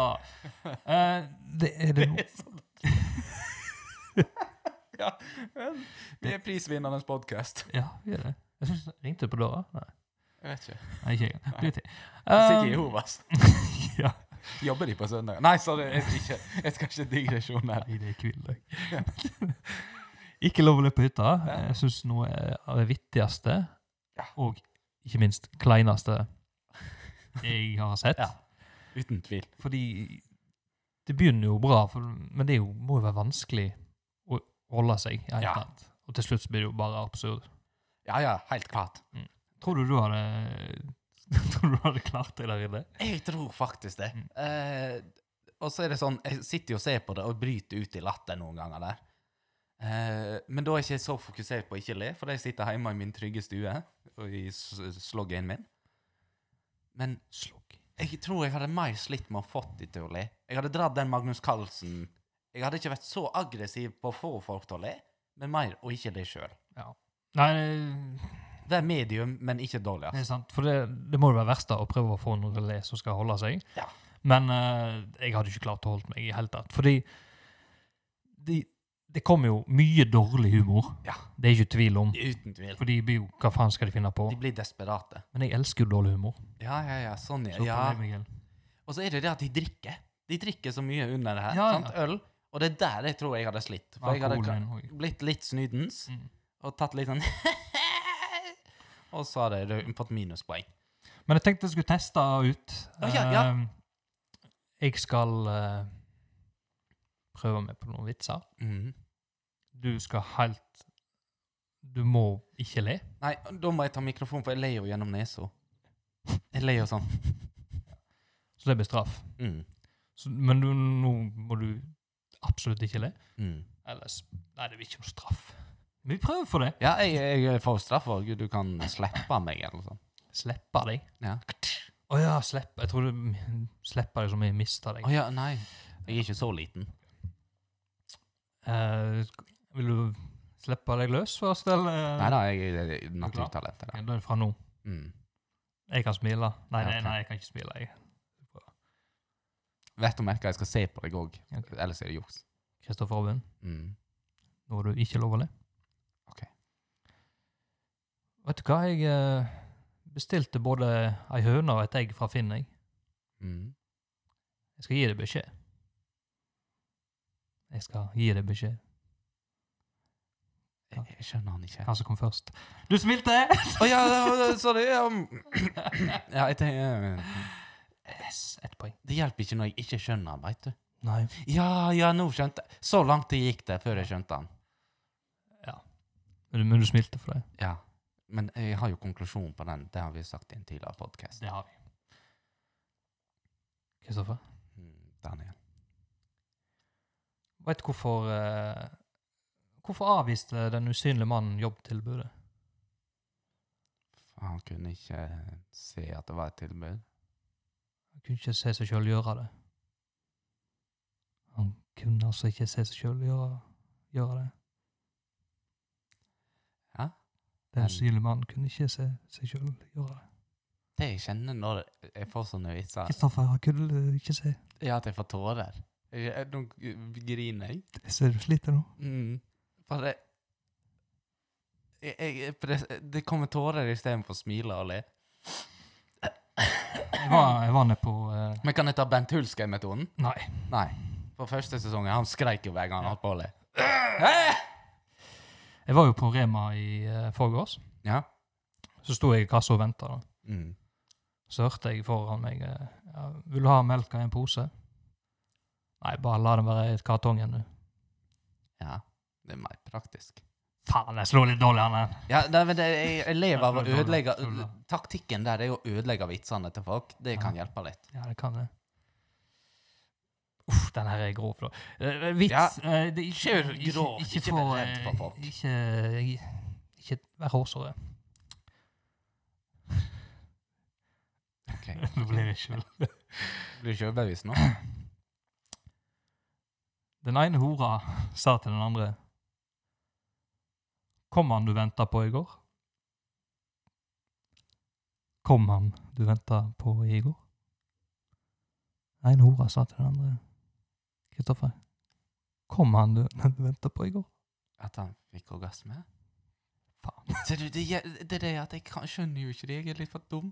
Speaker 2: Eh, det er det noe
Speaker 3: Ja, men det er prisvinnernes podkast.
Speaker 2: Ja, vi gjør det. Jeg synes, ringte det på døra? Nei,
Speaker 3: Jeg vet ikke.
Speaker 2: Nei ikke jeg. Drit i.
Speaker 3: Sikkert
Speaker 2: Eh,
Speaker 3: Jehovas.
Speaker 2: ja.
Speaker 3: altså. Jobber de på søndag? Nei, sorry, jeg skal ikke, jeg skal ikke digresjon her.
Speaker 2: Nei, det er kvildag. ikke lov å løpe på hytta. Jeg syns noe er av det vittigste
Speaker 3: Ja.
Speaker 2: og ikke minst kleineste jeg har sett.
Speaker 3: Ja. Uten tvil.
Speaker 2: Fordi det begynner jo bra, for, men det er jo, må jo være vanskelig å holde seg. i
Speaker 3: Ja.
Speaker 2: ja. Og til slutt så blir det jo bare absurd.
Speaker 3: Ja, ja, helt klart.
Speaker 2: Tror du du hadde Tror du du hadde klart deg der inne?
Speaker 3: Jeg tror faktisk det.
Speaker 2: Mm.
Speaker 3: Eh, og så er det sånn, jeg sitter jo og ser på det og bryter ut i latter noen ganger der. Eh, men da er jeg ikke så fokusert på å ikke le, for jeg sitter hjemme i min trygge stue og i s- sloggen min. Men
Speaker 2: Slugg.
Speaker 3: jeg tror jeg hadde mer slitt med å fått de til å le. Jeg hadde dratt den Magnus Carlsen. Jeg hadde ikke vært så aggressiv på å få folk til å le, men mer å ikke le sjøl.
Speaker 2: Nei, det-
Speaker 3: Det er medium, men ikke dårligst.
Speaker 2: det er sant. For det, det må jo være verst da, å prøve å få noen til å le som skal holde seg.
Speaker 3: Ja.
Speaker 2: Men eh, jeg hadde ikke klart å holde meg i hele tatt. Fordi de, det kommer jo mye dårlig humor.
Speaker 3: Ja.
Speaker 2: Det er ikke tvil om.
Speaker 3: Uten tvil.
Speaker 2: For de blir jo Hva faen skal de finne på?
Speaker 3: De blir desperate.
Speaker 2: Men jeg elsker jo dårlig humor.
Speaker 3: Ja, ja, ja. Sånn, ja.
Speaker 2: Så
Speaker 3: ja.
Speaker 2: på deg, Miguel.
Speaker 3: Og så er det det at de drikker. De drikker så mye under det her.
Speaker 2: Ja, ja.
Speaker 3: sant? Øl. Og det er der jeg tror jeg hadde slitt. For jeg hadde
Speaker 2: Alkoholen
Speaker 3: ka-
Speaker 2: også.
Speaker 3: blitt litt snydens
Speaker 2: Mm.
Speaker 3: og tatt litt sånn Og så hadde jeg fått minuspoeng.
Speaker 2: Men jeg tenkte jeg skulle teste ut.
Speaker 3: Ja, ja, ja.
Speaker 2: Eh, Jeg skal eh, prøve meg på noen vitser.
Speaker 3: Mhm.
Speaker 2: Du skal helt Du må ikke le.
Speaker 3: Nei, da må jeg ta mikrofonen, for jeg ler jo gjennom nesa. Jeg ler jo sånn.
Speaker 2: Så det blir straff.
Speaker 3: Mm.
Speaker 2: Så, men du, nå må du absolutt ikke le.
Speaker 3: Mm.
Speaker 2: Ellers Nei, det blir ikke noe straff. Men vi prøver for det.
Speaker 3: Ja, jeg, jeg får straff òg. Du kan slippe meg, eller sånn.
Speaker 2: Slippe deg.
Speaker 3: Ja.
Speaker 2: Å ja, slipp. Jeg tror du slipper deg som jeg mister deg.
Speaker 3: Å ja, nei. Jeg er ikke så liten.
Speaker 2: Eh, vil du slippe deg løs først, eller?
Speaker 3: Nei da, jeg er naturtalent.
Speaker 2: Ja, Da er det fra nå.
Speaker 3: Mm.
Speaker 2: Jeg kan smile. Nei,
Speaker 3: Ja,
Speaker 2: det,
Speaker 3: ok.
Speaker 2: nei jeg kan ikke smile. Jeg.
Speaker 3: Vet du merke jeg skal se på deg òg,
Speaker 2: Ok.
Speaker 3: ellers er det juks.
Speaker 2: Kristoffer Robin,
Speaker 3: Mm.
Speaker 2: nå har du ikke lov å le.
Speaker 3: Ok.
Speaker 2: Vet du hva, jeg eh, bestilte både ei høne og et egg fra Finn, jeg.
Speaker 3: Mm.
Speaker 2: Jeg skal gi deg beskjed. Jeg skal gi deg beskjed.
Speaker 3: Jeg, jeg skjønner han ikke.
Speaker 2: Hva som kom først? Du smilte!
Speaker 3: Å ja, det var- sorry. Ja, mm. ja jeg tenker, eh,
Speaker 2: Yes, ett poeng.
Speaker 3: det hjelper ikke når jeg ikke skjønner han, veit du.
Speaker 2: Nei.
Speaker 3: Ja, ja, nå skjønte jeg. Så langt det gikk det før jeg skjønte han.
Speaker 2: Men du, men du smilte for det.
Speaker 3: Ja. Men jeg har jo konklusjonen på den. Det har vi sagt i en tidligere podkast.
Speaker 2: Det har vi. Kristoffer,
Speaker 3: Mm, Daniel.
Speaker 2: vet du hvorfor eh, Hvorfor avviste den usynlige mannen jobbtilbudet?
Speaker 3: Han kunne ikke se at det var et tilbud.
Speaker 2: Han kunne ikke se seg sjøl gjøre det. Han kunne altså ikke se seg sjøl gjøre, gjøre det.
Speaker 3: Ja.
Speaker 2: Den usynlige mannen kunne ikke se seg sjøl gjøre det.
Speaker 3: Det jeg kjenner når jeg får sånne vitser,
Speaker 2: Kristoffer, han kunne ikke se.
Speaker 3: er at jeg får tårer. Jeg- jeg- Nå griner jeg.
Speaker 2: Ser du sliter nå?
Speaker 3: Mm. Bare jeg, jeg, jeg pres- Det kommer tårer istedenfor smile og le.
Speaker 2: Jeg var, jeg var nede på eh,
Speaker 3: Men kan jeg ta Bent Hulskei-metoden?
Speaker 2: Nei.
Speaker 3: Nei. På første sesongen han skreik jo hver gang han holdt på å le.
Speaker 2: Jeg var jo på Rema i uh, forgårs.
Speaker 3: Ja.
Speaker 2: Så sto jeg i kassa og venta.
Speaker 3: Mm.
Speaker 2: Så hørte jeg foran meg eh, ja, 'Vil du ha melka i en pose?' Nei, bare la den være i kartongen, du.
Speaker 3: ja. Det er mer praktisk.
Speaker 2: Faen, jeg slo litt dårlig an den.
Speaker 3: Ja, nei, men det, jeg, jeg lever av å
Speaker 2: Ja, det
Speaker 3: ødelegge
Speaker 2: er bra, det er bra.
Speaker 3: Taktikken der er å ødelegge vitsene til folk. Det kan hjelpe litt.
Speaker 2: Ja, det kan det. Uff, den her er grov, da. Eh, vits
Speaker 3: Ja.
Speaker 2: eh, det,
Speaker 3: Kjør grov, ikke
Speaker 2: for,
Speaker 3: vær redd for
Speaker 2: eh,
Speaker 3: folk.
Speaker 2: Ikke, ikke, ikke vær hårsåre.
Speaker 3: Ok.
Speaker 2: Nå blir jeg sjøl.
Speaker 3: Blir ikke overbevist nå?
Speaker 2: Den ene hora sa til den andre Kom han du venta på i går? Kom han du venta på i går? Den ene hora sa til den andre Kristoffer, kom han du venta på i går?
Speaker 3: At han fikk orgasme?
Speaker 2: Faen.
Speaker 3: Ser du, det, gjel- det er det at jeg kan, skjønner jo ikke det. Jeg er litt for dum.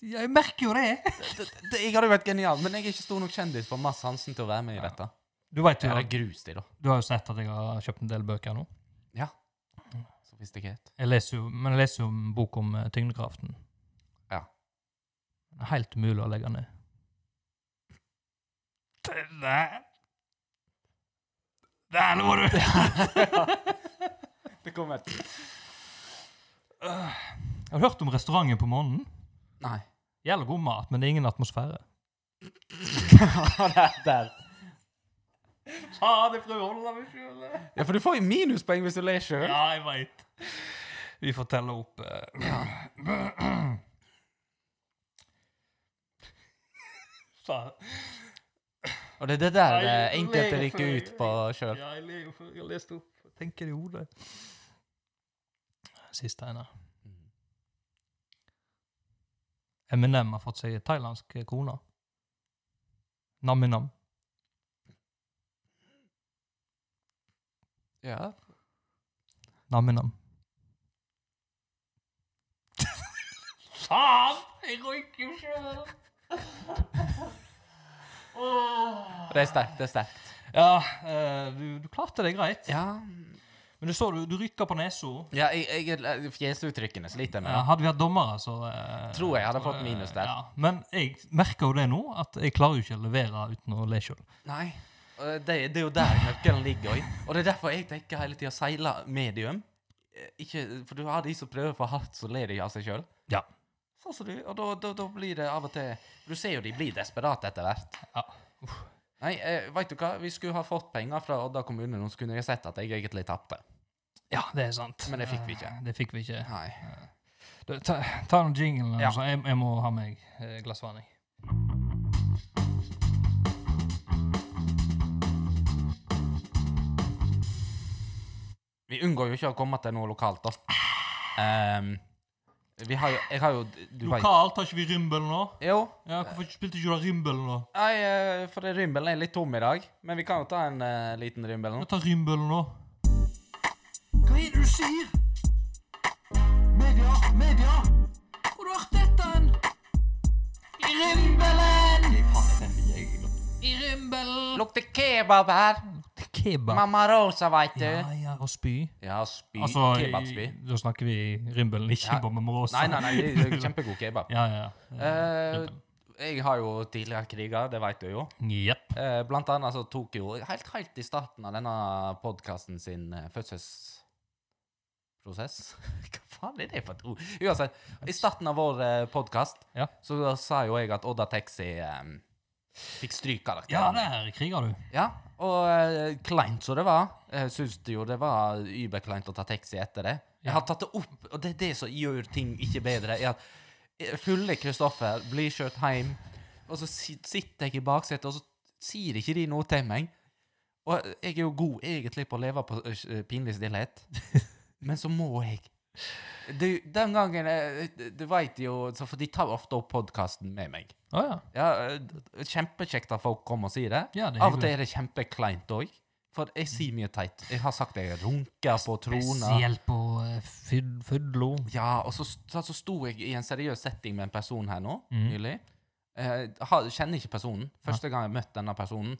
Speaker 2: Jeg merker jo det!
Speaker 3: det, det, jeg hadde jo vært genial, men jeg er ikke stor nok kjendis for Mads Hansen til å være med i
Speaker 2: Ja.
Speaker 3: dette.
Speaker 2: Du, vet
Speaker 3: Det
Speaker 2: jo,
Speaker 3: er grus til, da.
Speaker 2: du har jo sett at jeg har kjøpt en del bøker nå.
Speaker 3: Sofistikert.
Speaker 2: Jeg leser jo, men jeg leser jo en bok om eh, tyngdekraften.
Speaker 3: Ja.
Speaker 2: Den er helt umulig å legge ned. Der lå du!
Speaker 3: Det kommer et
Speaker 2: Har du hørt om restauranten på månen?
Speaker 3: Nei.
Speaker 2: Jævla god mat, men det er ingen atmosfære.
Speaker 3: der, der.
Speaker 2: Faen, jeg prøver å holde meg sjøl.
Speaker 3: Ja, for du får jo minuspoeng hvis du ler sjøl.
Speaker 2: Ja, jeg veit. Vi får telle opp eh. Faen.
Speaker 3: Og det er det der
Speaker 2: Nei,
Speaker 3: eh, enkelte
Speaker 2: ler
Speaker 3: rykker
Speaker 2: for-
Speaker 3: ut på sjøl.
Speaker 2: Ja, jeg ler jo før jeg leste opp. Jeg tenker det i hodet. Siste ene. Eminem har fått seg thailandsk kone. Nam-i-nam.
Speaker 3: Ja.
Speaker 2: Nam-nam. Faen! Jeg røyker jo sjøl.
Speaker 3: Det er sterkt. Det er sterkt.
Speaker 2: Ja, eh, du, du klarte det greit.
Speaker 3: Ja,
Speaker 2: Men du så du, du rykka på nesa.
Speaker 3: ja jeg, jeg, fjesuttrykkene sliter jeg med.
Speaker 2: Eh, Hadde vi hatt dommere, så eh,
Speaker 3: Tror jeg hadde fått minus der.
Speaker 2: Ja. Men jeg merker jo det nå, at jeg klarer jo ikke å levere uten å le sjøl.
Speaker 3: Nei. og Det, det er jo der nøkkelen ligger. Oi. Og det er derfor jeg tenker hele tida seile medium. Eh, Ikke, for du har de som prøver for hardt, så ler de av seg sjøl.
Speaker 2: Ja.
Speaker 3: Sånn som du. Og da, da, da blir det av og til Du ser jo de blir desperate etter hvert.
Speaker 2: Ja.
Speaker 3: Nei, eh, veit du hva? Vi skulle ha fått penger fra Odda kommune, nå skulle jeg sett at jeg egentlig tapte.
Speaker 2: ja, det er sant.
Speaker 3: Men det fikk vi ikke.
Speaker 2: Eh, Det fikk vi ikke.
Speaker 3: Nei.
Speaker 2: Du, ta, ta noen jingle,
Speaker 3: Ja.
Speaker 2: så jeg, jeg må ha meg eh, glass vann. jeg.
Speaker 3: Vi unngår jo ikke å komme til noe lokalt, da. Ehm, vi har jo Jeg har jo Du vet
Speaker 2: Lokalt har ikke vi Rymbel nå?
Speaker 3: Jo.
Speaker 2: Ja, Hvorfor spilte ikke du da Rymbel nå?
Speaker 3: Nei, eh, for rymbelen er litt tom i dag. Men vi kan jo ta en eh, liten rymbel nå.
Speaker 2: Vi tar Rymbel nå.
Speaker 4: Hva er det du sier? Media, media! Hvor har du hørt dette hen? I rimbelen! I rimbelen!
Speaker 3: Lukter kebab her!
Speaker 2: Kebab.
Speaker 3: Mamma Rosa, veit du.
Speaker 2: Ja, ja, og spy.
Speaker 3: Ja, spy.
Speaker 2: Altså,
Speaker 3: Kebabspy.
Speaker 2: i- da snakker vi Rymbelen, ikke
Speaker 3: Ja.
Speaker 2: på Mamorosa.
Speaker 3: Nei, nei, nei, det er kjempegod kebab.
Speaker 2: Ja, ja. ja.
Speaker 3: Eh, jeg har jo tidligere kriga, det veit du jo.
Speaker 2: Jepp.
Speaker 3: Eh, blant annet så tok jo helt, helt i starten av denne podkasten sin eh, fødselsprosess Hva faen er det for et ord? Uansett, i starten av vår eh, podkast
Speaker 2: Ja.
Speaker 3: så da sa jo jeg at Odda Taxi eh, fikk
Speaker 2: Ja,
Speaker 3: strykkarakter.
Speaker 2: der kriger du.
Speaker 3: Ja, og eh, kleint som det var, uh, syns det jo det var überkleint å ta taxi etter det. Jeg har tatt det opp, og det er det som gjør ting ikke bedre. er at eh, fulle Kristoffer blir kjørt hjem, og så si- sitter jeg i baksetet, og så sier ikke de noe til meg. Og jeg er jo god egentlig på å leve på eh, pinlig stillhet, men så må jeg. Du, den gangen eh, Du veit jo så For de tar ofte opp podkasten med meg.
Speaker 2: Å ja.
Speaker 3: Ja, eh, Kjempekjekt at folk kommer og sier det.
Speaker 2: Ja, det er
Speaker 3: Av og til
Speaker 2: hyggelig.
Speaker 3: er det kjempekleint òg. For jeg sier mye teit. Jeg har sagt jeg runker på trona.
Speaker 2: Spesielt på eh, fyd- Fydlo.
Speaker 3: Ja, og så, så, så sto jeg i en seriøs setting med en person her nå,
Speaker 2: Mm.
Speaker 3: nylig. Eh, har- kjenner ikke personen. Første gang jeg møtte denne personen.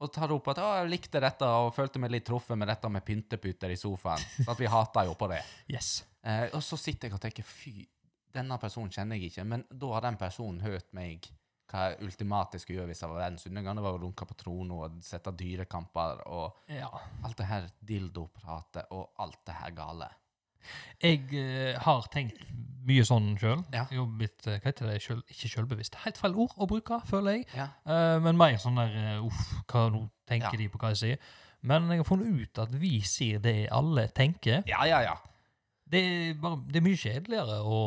Speaker 3: Og tar opp at å, jeg likte dette og følte meg litt truffet med dette med pynteputer i sofaen. Så at vi hater jo på det.
Speaker 2: Yes.
Speaker 3: Eh, og så sitter jeg og tenker fy, denne personen kjenner jeg ikke, men da har den personen hørt meg hva jeg ultimate skulle gjøre hvis jeg var verdens undergang. Det var å runke på tronen og sette dyrekamper og
Speaker 2: Ja.
Speaker 3: alt det her dildopratet og alt det her gale.
Speaker 2: Jeg eh, har tenkt mye sånn sjøl.
Speaker 3: Ja.
Speaker 2: Jeg har blitt eh, hva heter det, sjøl- ikke sjølbevisst. Helt feil ord å bruke, føler jeg.
Speaker 3: Ja.
Speaker 2: Eh, men mer sånn der eh, uff, hva nå tenker
Speaker 3: Ja.
Speaker 2: de på hva jeg sier? Men jeg har funnet ut at vi sier det alle tenker.
Speaker 3: ja, ja, ja.
Speaker 2: Det er, bare, det er mye kjedeligere å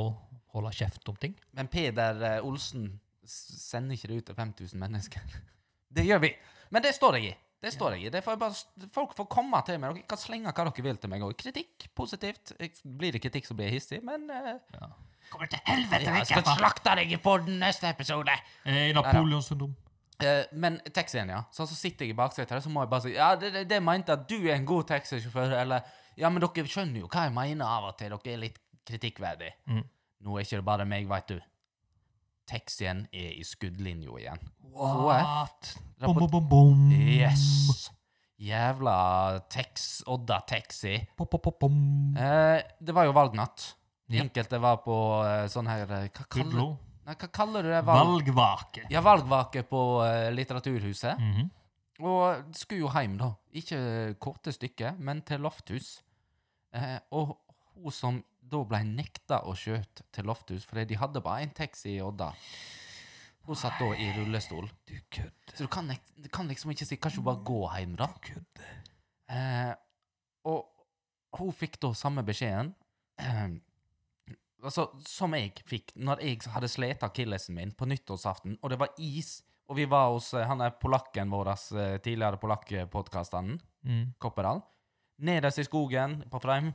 Speaker 2: holde kjeft om ting.
Speaker 3: Men Peder eh, Olsen s- sender ikke det ut til 5000 mennesker. Det gjør vi. Men det står jeg i. Det står jeg i. Det får jeg bare, s- folk får komme til meg. Dere kan slenge hva dere vil til meg òg. Kritikk, positivt. Jeg- Blir det kritikk, så blir jeg hissig, men eh,
Speaker 4: Kommer til helvete
Speaker 3: Jeg skal slakte deg i podden neste episode.
Speaker 2: Eh, Napoleonssyndrom.
Speaker 3: Eh, men taxien, ja. Så, så sitter jeg i baksetet, her, så må jeg bare si Ja, det, det, det mente jeg at du er en god taxisjåfør, eller Ja, men dere skjønner jo hva jeg mener av og til. Dere er litt kritikkverdig.
Speaker 2: Mm.
Speaker 3: Nå er ikke det bare meg, veit du. Taxien er i skuddlinja igjen.
Speaker 2: What? Bom,
Speaker 3: Rapport-
Speaker 2: bom, bom, bom.
Speaker 3: Yes! Jævla tax, Odda Taxi.
Speaker 2: Pop, pop, pop, bom.
Speaker 3: Eh, det var jo valgnatt.
Speaker 2: Ja.
Speaker 3: Enkelte var på eh, sånn her eh, hva kaller,
Speaker 2: Fydlo.
Speaker 3: nei, hva kaller du det? Valg,
Speaker 2: Valgvake.
Speaker 3: ja, valgvake på eh, Litteraturhuset.
Speaker 2: Mhm.
Speaker 3: Og skulle jo hjem, da. Ikke korte stykker, men til Lofthus. Eh, og hun som da ble nekta å skjøte til Lofthus, fordi de hadde bare én taxi i Odda. Hun satt da i rullestol.
Speaker 2: Du kødder.
Speaker 3: Så du kan, nek- du kan liksom ikke si Kanskje hun bare gå hjem, da?
Speaker 2: kødder.
Speaker 3: Eh, og hun fikk da samme beskjeden. Eh, altså, som jeg fikk når jeg hadde slet akillesen min på nyttårsaften, og det var is, og vi var hos eh, han der polakken vår, eh, tidligere polakkpodkasten,
Speaker 2: Mm.
Speaker 3: Kopperall, nederst i skogen på Freim,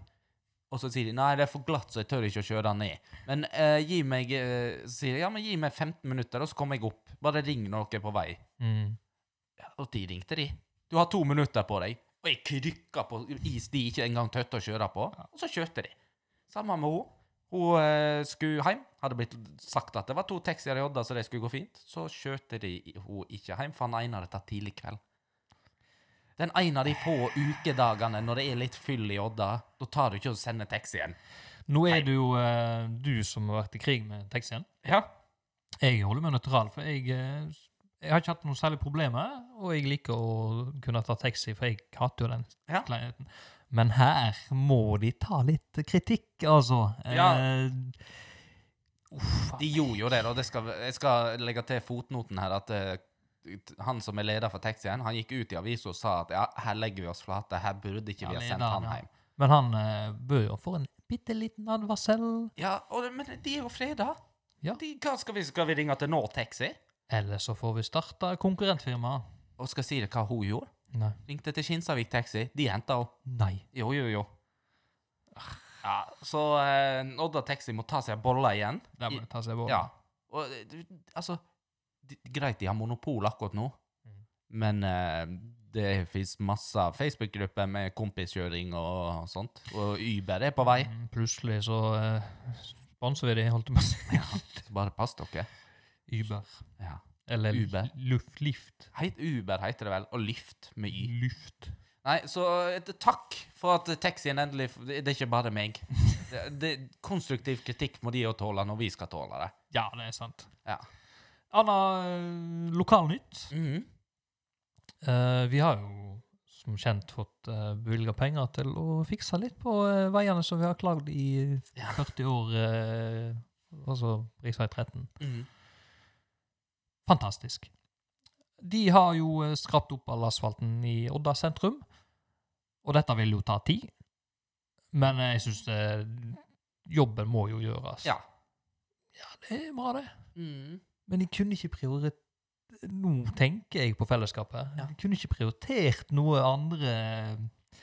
Speaker 3: og så sier de nei, det er for glatt, så jeg tør ikke å kjøre den ned. Men eh, gi meg eh, så sier de, ja, men gi meg 15 minutter, og så kommer jeg opp. Bare ring når dere er på vei.
Speaker 2: Mm.
Speaker 3: Og de ringte de. Du har to minutter på deg. Og Og jeg krykka på is de ikke engang tøtte å kjøre på. Og så kjørte de. Sammen med henne. Hun eh, skulle hjem. Hadde blitt sagt at det var to taxier i Odda, så det skulle gå fint. Så kjørte de i- hun ikke hjem, for han ene hadde tatt tidlig kveld. Den ene av de få ukedagene når det er litt fyll i Odda, da tar du ikke og sender taxien.
Speaker 2: Nå er det jo eh, du som har vært i krig med taxien.
Speaker 3: Ja.
Speaker 2: Jeg holder meg nøytral, for jeg, eh, jeg har ikke hatt noen særlig problemer, og jeg liker å kunne ta taxi, for jeg hater jo den
Speaker 3: Ja.
Speaker 2: kleinheten. Men her må de ta litt kritikk, altså.
Speaker 3: Ja.
Speaker 2: Eh,
Speaker 3: De gjorde jo det, da. Det skal, jeg skal legge til fotnoten her at eh, han som er leder for taxien, han gikk ut i avisa og sa at ja, her legger vi oss flate, her burde ikke
Speaker 2: Ja,
Speaker 3: vi ha sendt
Speaker 2: lederen,
Speaker 3: han
Speaker 2: ja.
Speaker 3: hjem.
Speaker 2: men han eh, bør jo få en bitte liten advarsel,
Speaker 3: Ja, og, det- men de er jo freda.
Speaker 2: Ja.
Speaker 3: De, hva skal vi, skal vi ringe til nå, taxi?
Speaker 2: eller så får vi starta konkurrentfirma.
Speaker 3: Og skal si det hva hun gjorde?
Speaker 2: Nei.
Speaker 3: Ringte til Kinsarvik Taxi. De henta henne.
Speaker 2: Nei.
Speaker 3: Jo, jo, jo. Ja, så eh, Odda Taxi må ta seg en bolle igjen.
Speaker 2: Der må det ta seg vår.
Speaker 3: Ja. Og eh, du- altså de, Greit, de har monopol akkurat nå,
Speaker 2: Mm.
Speaker 3: men eh, det fins masse Facebook-grupper med kompiskjøring og sånt, og Uber er på vei.
Speaker 2: Mm, Plutselig så eh, sponser vi de, holdt jeg på å si.
Speaker 3: Så bare pass dere.
Speaker 2: Uber.
Speaker 3: Ja.
Speaker 2: Eller
Speaker 3: Uber.
Speaker 2: Luft, lift.
Speaker 3: Heit Uber heter det vel, og Lyft med Y.
Speaker 2: Luft.
Speaker 3: Nei, så et, takk for at taxien endelig Det det er ikke bare meg. Det, det, konstruktiv kritikk må de jo tåle når vi skal tåle det.
Speaker 2: Ja, det er sant.
Speaker 3: Ja.
Speaker 2: Anna eh, lokalnytt.
Speaker 3: Mm.
Speaker 2: Eh, vi har jo som kjent fått uh, bevilga penger til å fikse litt på eh, veiene som vi har klagd i 40 år, eh, altså rv. 13.
Speaker 3: Mhm.
Speaker 2: Fantastisk. De har jo eh, skrapt opp all asfalten i Odda sentrum, og dette vil jo ta tid. Men eh, jeg syns jobben må jo gjøres.
Speaker 3: Ja.
Speaker 2: Det er bra, det. Mm.
Speaker 3: Mhm.
Speaker 2: Men de kunne ikke prioritere Nå tenker jeg på fellesskapet.
Speaker 3: Ja.
Speaker 2: De kunne ikke prioritert noe andre eh,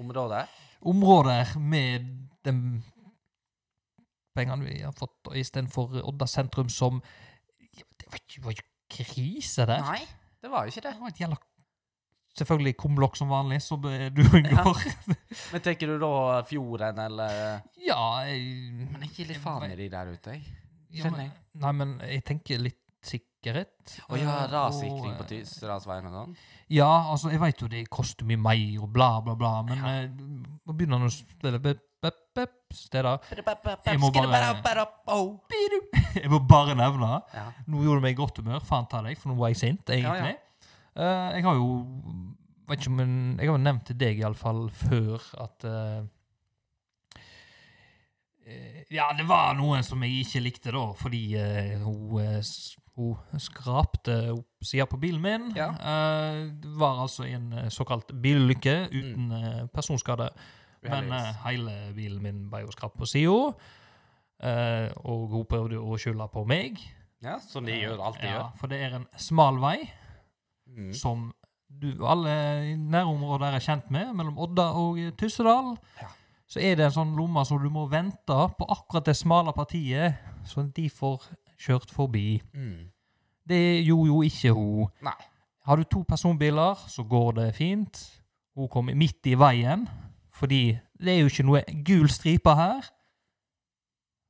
Speaker 3: Området?
Speaker 2: områder med de pengene vi har fått, og istedenfor Odda sentrum som Ja, Det var ikke, var ikke krise der.
Speaker 3: Nei, det var jo ikke
Speaker 2: Det
Speaker 3: det.
Speaker 2: var et jævla Selvfølgelig kumlokk som vanlig, som eh, du unngår.
Speaker 3: Men tenker du da fjorden, eller
Speaker 2: Ja, jeg
Speaker 3: Men jeg gir litt faen i de der ute, jeg.
Speaker 2: Ja, men-
Speaker 3: skjønner jeg.
Speaker 2: Nei, men jeg tenker litt sikkerhet.
Speaker 3: Og ja,
Speaker 2: eh,
Speaker 3: rassikring
Speaker 2: og,
Speaker 3: på
Speaker 2: eh,
Speaker 3: Tysdalsveien og sånn.
Speaker 2: Ja, altså, jeg veit jo det koster mye mer og bla, bla, bla, men
Speaker 3: Ja.
Speaker 2: eh, nå begynner han å spille bep, bep, bep, steder.
Speaker 3: Jeg
Speaker 2: Jeg må bare- Jeg må bare nevne
Speaker 3: Ja.
Speaker 2: Nå gjorde du meg i godt humør, faen ta deg, for nå var jeg sint, egentlig. Eh, jeg har jo vet ikke, men Jeg har jo nevnt til deg iallfall før at eh, eh, Ja, det var noen som jeg ikke likte, da, fordi eh, hun, eh, s- hun skrapte opp sida på bilen min.
Speaker 3: Ja.
Speaker 2: Eh, det var altså en eh, såkalt bilulykke uten eh, personskade. Men
Speaker 3: Uheldigvis.
Speaker 2: eh, hele bilen min ble jo skrapt på sida, og hun prøvde jo å skylde på meg.
Speaker 3: Ja, som de gjør, alltid
Speaker 2: ja,
Speaker 3: gjør.
Speaker 2: For det er en smal vei
Speaker 3: Mhm.
Speaker 2: som du, alle i nærområdet er kjent med, mellom Odda og eh, Tyssedal.
Speaker 3: Ja.
Speaker 2: Så er det en sånn lomme som du må vente på akkurat det smale partiet, så de får kjørt forbi.
Speaker 3: Mhm.
Speaker 2: Det gjorde jo ikke hun.
Speaker 3: Nei.
Speaker 2: Har du to personbiler, så går det fint. Hun kom midt i veien, fordi det er jo ikke noe gul stripe her.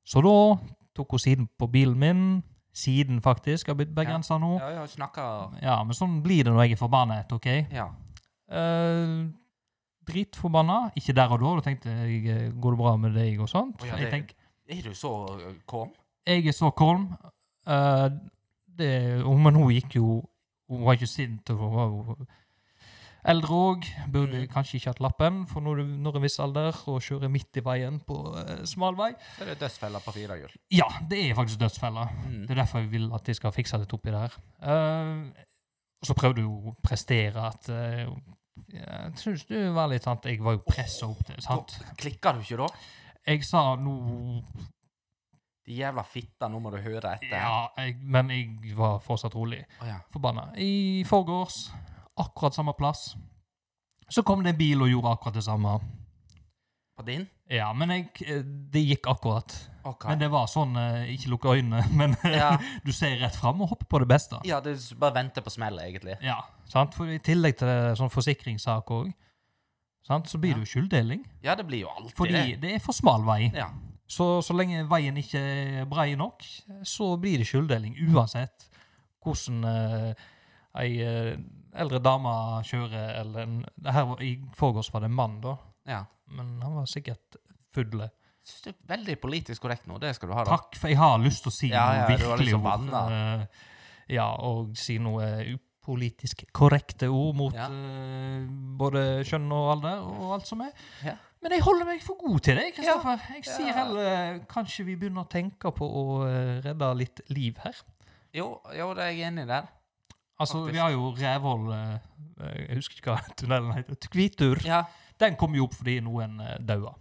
Speaker 2: Så da tok hun siden på bilen min. Siden faktisk har blitt begrensa nå.
Speaker 3: Ja, ja, snakka
Speaker 2: Ja, men sånn blir det når jeg er forbannet, OK?
Speaker 3: Ja.
Speaker 2: Eh, dritforbanna. Ikke der og da, da tenkte jeg eh, går det bra med deg og sånt.
Speaker 3: Å ja,
Speaker 2: jeg,
Speaker 3: det-
Speaker 2: tenk,
Speaker 3: Er du så eh, kom?
Speaker 2: jeg er så kolm. Eh, det, og- men hun gikk jo Hun var ikke sint. og Hun var jo eldre òg. Burde
Speaker 3: Mhm.
Speaker 2: kanskje ikke hatt lappen for når du når en viss alder og kjører midt i veien på eh, smal vei.
Speaker 3: Så er det dødsfeller på fire hjul.
Speaker 2: Ja, det er faktisk dødsfella.
Speaker 3: Mhm.
Speaker 2: Det er derfor jeg vil at de skal fikse litt opp i det her. Eh, og så prøvde hun å prestere at eh, Jeg syns du var litt sant. Jeg var jo pressa opp til sant?
Speaker 3: Klikker du ikke da?
Speaker 2: Jeg sa nå
Speaker 3: De jævla fitta, nå må du høre etter.
Speaker 2: Ja, jeg, men jeg var fortsatt rolig.
Speaker 3: Å ja.
Speaker 2: Forbanna. I forgårs, akkurat samme plass, så kom det en bil og gjorde akkurat det samme.
Speaker 3: På din?
Speaker 2: Ja, men jeg, eh, det gikk akkurat.
Speaker 3: OK.
Speaker 2: Men det var sånn eh, Ikke lukke øynene, men
Speaker 3: Ja.
Speaker 2: du ser rett fram og hopper på det beste.
Speaker 3: ja, du s- bare venter på smellet, egentlig.
Speaker 2: Ja, sant? For I tillegg til sånn forsikringssak òg. Sant? Så blir det jo skylddeling.
Speaker 3: Ja, det blir jo alltid
Speaker 2: Fordi
Speaker 3: det.
Speaker 2: det er for smal vei.
Speaker 3: Ja.
Speaker 2: Så, så lenge veien ikke er brei nok, så blir det skylddeling uansett hvordan eh, ei eh, eldre dame kjører, eller en, det her var, I forgårs var det en mann, da,
Speaker 3: ja.
Speaker 2: men han var sikkert fulle.
Speaker 3: Syns det er veldig politisk korrekt nå. Det skal du ha. da.
Speaker 2: Takk, for jeg har lyst til å si
Speaker 3: Ja, ja,
Speaker 2: noe
Speaker 3: du har
Speaker 2: virkelig
Speaker 3: liksom
Speaker 2: ord.
Speaker 3: banna.
Speaker 2: eh, ja, og si noe upolitisk korrekte ord mot
Speaker 3: Ja.
Speaker 2: eh, både kjønn og alder og alt som er.
Speaker 3: Ja.
Speaker 2: Men jeg holder meg for god til det, Kristoffer. Jeg
Speaker 3: Ja.
Speaker 2: sier heller eh, kanskje vi begynner å tenke på å eh, redde litt liv her.
Speaker 3: Jo, jo, det er jeg enig i der.
Speaker 2: Altså,
Speaker 3: Faktisk.
Speaker 2: vi har jo Rævhold eh, eh, Jeg husker ikke hva tunnelen heter. Kvitur.
Speaker 3: Ja.
Speaker 2: Den kom jo opp fordi noen uh, daua.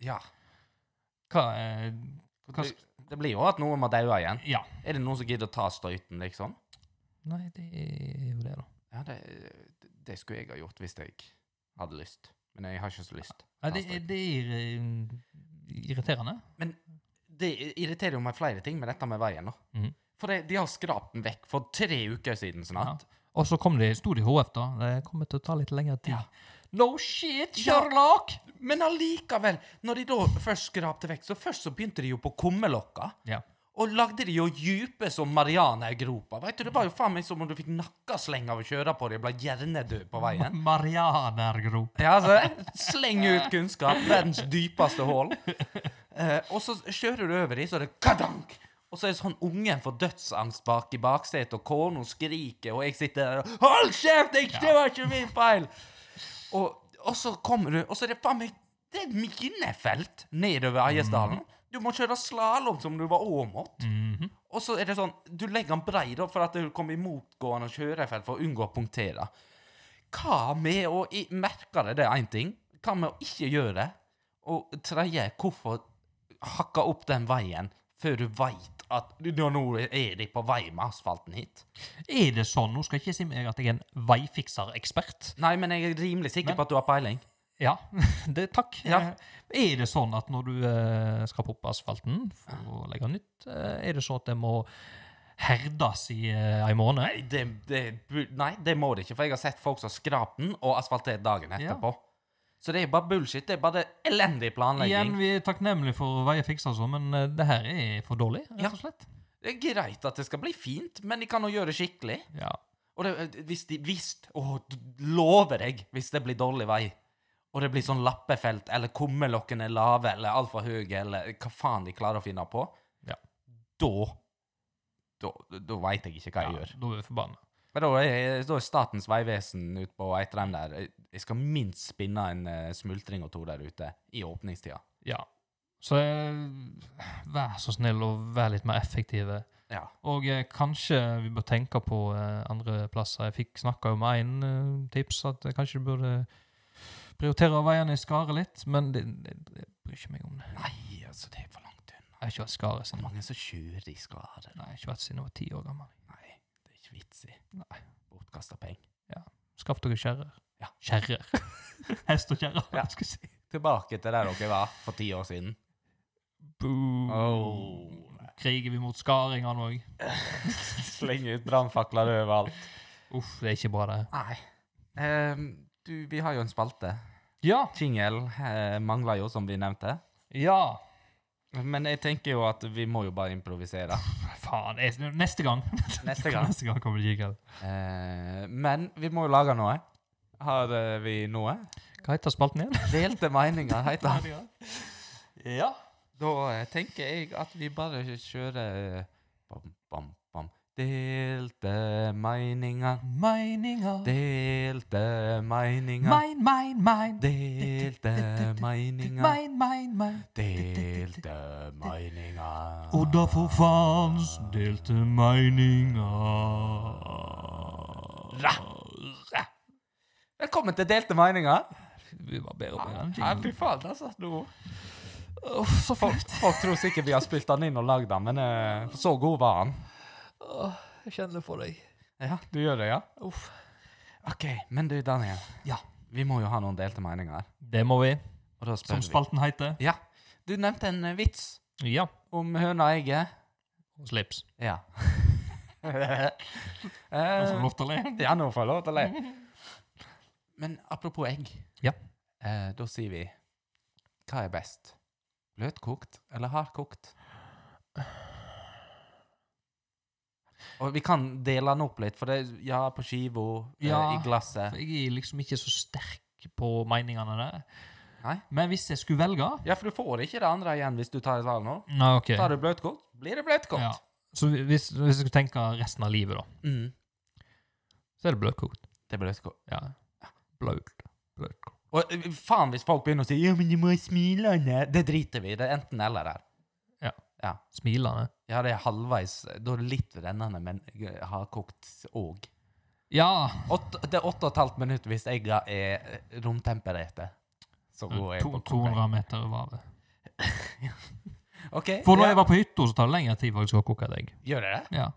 Speaker 3: ja.
Speaker 2: Hva, eh, hva
Speaker 3: Det, det blir jo at noen må daue igjen.
Speaker 2: Ja.
Speaker 3: Er det noen som gidder å ta støyten, liksom?
Speaker 2: Nei, det er jo det, da.
Speaker 3: Ja, det, det skulle jeg ha gjort hvis jeg hadde lyst. Men jeg har ikke så lyst.
Speaker 2: Nei, det, er- det er eh, irriterende.
Speaker 3: Det irriterer jo meg flere ting med dette med veien nå.
Speaker 2: Mhm.
Speaker 3: For det, de har skrapt den vekk for tre uker siden snart.
Speaker 2: Og så kom de, sto de i HF, da. Det kommer til å ta litt lengre tid.
Speaker 3: Ja.
Speaker 2: No shit,
Speaker 3: Ja.
Speaker 2: Sherlock!
Speaker 3: Men allikevel, når de da først skrapte vekk, så først så begynte de jo på kummelokka.
Speaker 2: Ja.
Speaker 3: Og lagde de jo dype som Mariana-gropa. Vet du, Det var jo faen meg som om du fikk nakkesleng av å kjøre på dem. Ble hjernedød på veien.
Speaker 2: Marianergrop.
Speaker 3: Ja, altså, sleng ut kunnskap. Verdens dypeste hull. Eh, og så kjører du over dem, så er det kadank! Og så er det sånn ungen får dødsangst bak i baksetet, og kona skriker, og jeg sitter der og Hold kjeft! Det det var ikke min feil! Og, og så kommer du, og så er det faen meg Det er et minefelt nedover Eiesdalen. Du må kjøre slalåm som du var Åmot. Og så er det sånn Du legger den brei da, for at du kommer i motgående kjørefelt for å unngå å punktere. Hva med å i- merke det, det er én ting. Hva med å ikke gjøre det? Og tredje, hvorfor hakke opp den veien før du veit at ja, nå er de på vei med asfalten hit?
Speaker 2: Er det sånn? Nå skal jeg ikke si meg at jeg er en veifikserekspert.
Speaker 3: Nei, men jeg er rimelig sikker
Speaker 2: Men-
Speaker 3: på at du har peiling.
Speaker 2: Ja, det, takk.
Speaker 3: Ja.
Speaker 2: Eh, Er det sånn at når du eh, skal poppe asfalten for å legge nytt, eh, er det sånn at det må herdes i eh, en måned?
Speaker 3: Nei det, det, bu- nei, det må det ikke, for jeg har sett folk som har skrapt den og asfaltert dagen
Speaker 2: Ja.
Speaker 3: etterpå. Så det er bare bullshit. Det er bare elendig
Speaker 2: Igjen,
Speaker 3: planlegging.
Speaker 2: vi er takknemlige for veifikser og sånn, men eh, det her er for dårlig,
Speaker 3: Ja.
Speaker 2: rett og slett.
Speaker 3: Det er greit at det skal bli fint, men de kan jo gjøre det skikkelig.
Speaker 2: Ja.
Speaker 3: Og det, eh, hvis de visst, å, d- lover deg, hvis det blir dårlig vei, og det blir sånn lappefelt, eller kummelokken er lave, eller altfor høye, eller hva faen de klarer å finne på,
Speaker 2: Ja.
Speaker 3: da, da, da veit jeg ikke hva jeg
Speaker 2: ja,
Speaker 3: gjør.
Speaker 2: da er vi forbanna.
Speaker 3: Men da er, da er Statens vegvesen ute på Eitrheim der. Jeg skal minst spinne en eh, smultring og to der ute i åpningstida.
Speaker 2: Ja. Så eh, vær så snill og vær litt mer effektive.
Speaker 3: Ja.
Speaker 2: Og eh, kanskje vi bør tenke på eh, andre plasser. Jeg fikk snakka om én eh, tips, at jeg kanskje burde prioritere veiene i Skare litt, men det, det, jeg bryr ikke meg om det.
Speaker 3: Nei, altså, det er for langt unna.
Speaker 2: Jeg har ikke vært i Skare
Speaker 3: Hvor
Speaker 2: siden,
Speaker 3: mange som kjører i skade?
Speaker 2: nei, jeg har ikke vært siden jeg var ti år gammel.
Speaker 3: Nei, det er ikke vits i.
Speaker 2: Nei.
Speaker 3: Bortkasta penger.
Speaker 2: Skaff dere kjerrer.
Speaker 3: Ja.
Speaker 2: Kjerrer. Hest og kjerrer,
Speaker 3: Ja.
Speaker 2: hva skal jeg si.
Speaker 3: Tilbake til der dere var for ti år siden.
Speaker 2: Boom.
Speaker 3: Oh.
Speaker 2: Kriger vi mot skaringene òg?
Speaker 3: Slenge ut brannfakler overalt.
Speaker 2: Uff, det er ikke bra, det.
Speaker 3: Nei. Ehm, du, vi har jo en spalte.
Speaker 2: Ja.
Speaker 3: Jingle eh, mangler jo, som vi nevnte.
Speaker 2: Ja.
Speaker 3: Men jeg tenker jo at vi må jo bare improvisere.
Speaker 2: Faen. jeg- Neste gang.
Speaker 3: Neste gang.
Speaker 2: Neste gang kommer det jingle.
Speaker 3: Eh, men vi må jo lage noe. Har eh, vi noe?
Speaker 2: Hva heter spalten igjen?
Speaker 3: Delte meninger, heter det.
Speaker 2: Ja.
Speaker 3: Da eh, tenker jeg at vi bare kjører eh, bam, bam, bam. Delte meninger,
Speaker 2: Meininga.
Speaker 3: delte meninger.
Speaker 2: Mein, mein, mein.
Speaker 3: Delte meninger,
Speaker 2: Mein, mein, mein.
Speaker 3: delte meninger.
Speaker 2: Og da for faens delte meininga.
Speaker 3: Velkommen til Delte meninger.
Speaker 2: Vi var bedre på den
Speaker 3: Nei, fy faen, altså. Nå. Uff, så folk, folk tror sikkert vi har spilt den inn og lagd den, men eh, så god var den.
Speaker 2: Jeg kjenner for deg.
Speaker 3: Ja, du gjør det, ja?
Speaker 2: Uff.
Speaker 3: OK, men du, Daniel.
Speaker 2: Ja.
Speaker 3: Vi må jo ha noen delte meninger.
Speaker 2: Det må vi,
Speaker 3: Og da
Speaker 2: som
Speaker 3: spør vi.
Speaker 2: spalten heter.
Speaker 3: Ja. Du nevnte en eh, vits
Speaker 2: Ja.
Speaker 3: om høna og egget.
Speaker 2: Og slips.
Speaker 3: Ja.
Speaker 2: Da får
Speaker 3: Eh,
Speaker 2: du lov til å le.
Speaker 3: Ja, nå får jeg lov til det. Men apropos egg.
Speaker 2: Ja.
Speaker 3: Eh, da sier vi Hva er best? Bløtkokt eller hardkokt? Og vi kan dele den opp litt, for det er ja på skiva, eh,
Speaker 2: Ja,
Speaker 3: i glasset
Speaker 2: For jeg er liksom ikke så sterk på meningene der.
Speaker 3: Nei.
Speaker 2: Men hvis jeg skulle velge
Speaker 3: Ja, for du får ikke det andre igjen hvis du tar et valg nå.
Speaker 2: Nei, ok.
Speaker 3: Tar du bløtkokt, blir det bløtkokt.
Speaker 2: Ja. Så hvis, hvis jeg skulle tenke resten av livet, da,
Speaker 3: Mm.
Speaker 2: så er det bløtkokt.
Speaker 3: Det er bløtkokt.
Speaker 2: Ja. Blaut. Bløtkokt.
Speaker 3: Og eh, faen hvis folk begynner å si 'ja, men du må smile', Anne». det driter vi i. Det er enten eller her.
Speaker 2: Smilende.
Speaker 3: Ja, det er halvveis. Da er det litt rennende, men eh, hardkokt òg.
Speaker 2: Ja!
Speaker 3: Åtte- Det er åtte og et halvt minutt hvis egga er romtempererte. Så går
Speaker 2: Mm,
Speaker 3: jeg
Speaker 2: To,
Speaker 3: på koking.
Speaker 2: 200 meter over havet.
Speaker 3: OK.
Speaker 2: For når
Speaker 3: ja.
Speaker 2: jeg var på hytta, så tar det lengre tid faktisk å koke et egg.
Speaker 3: Gjør det det?
Speaker 2: Ja.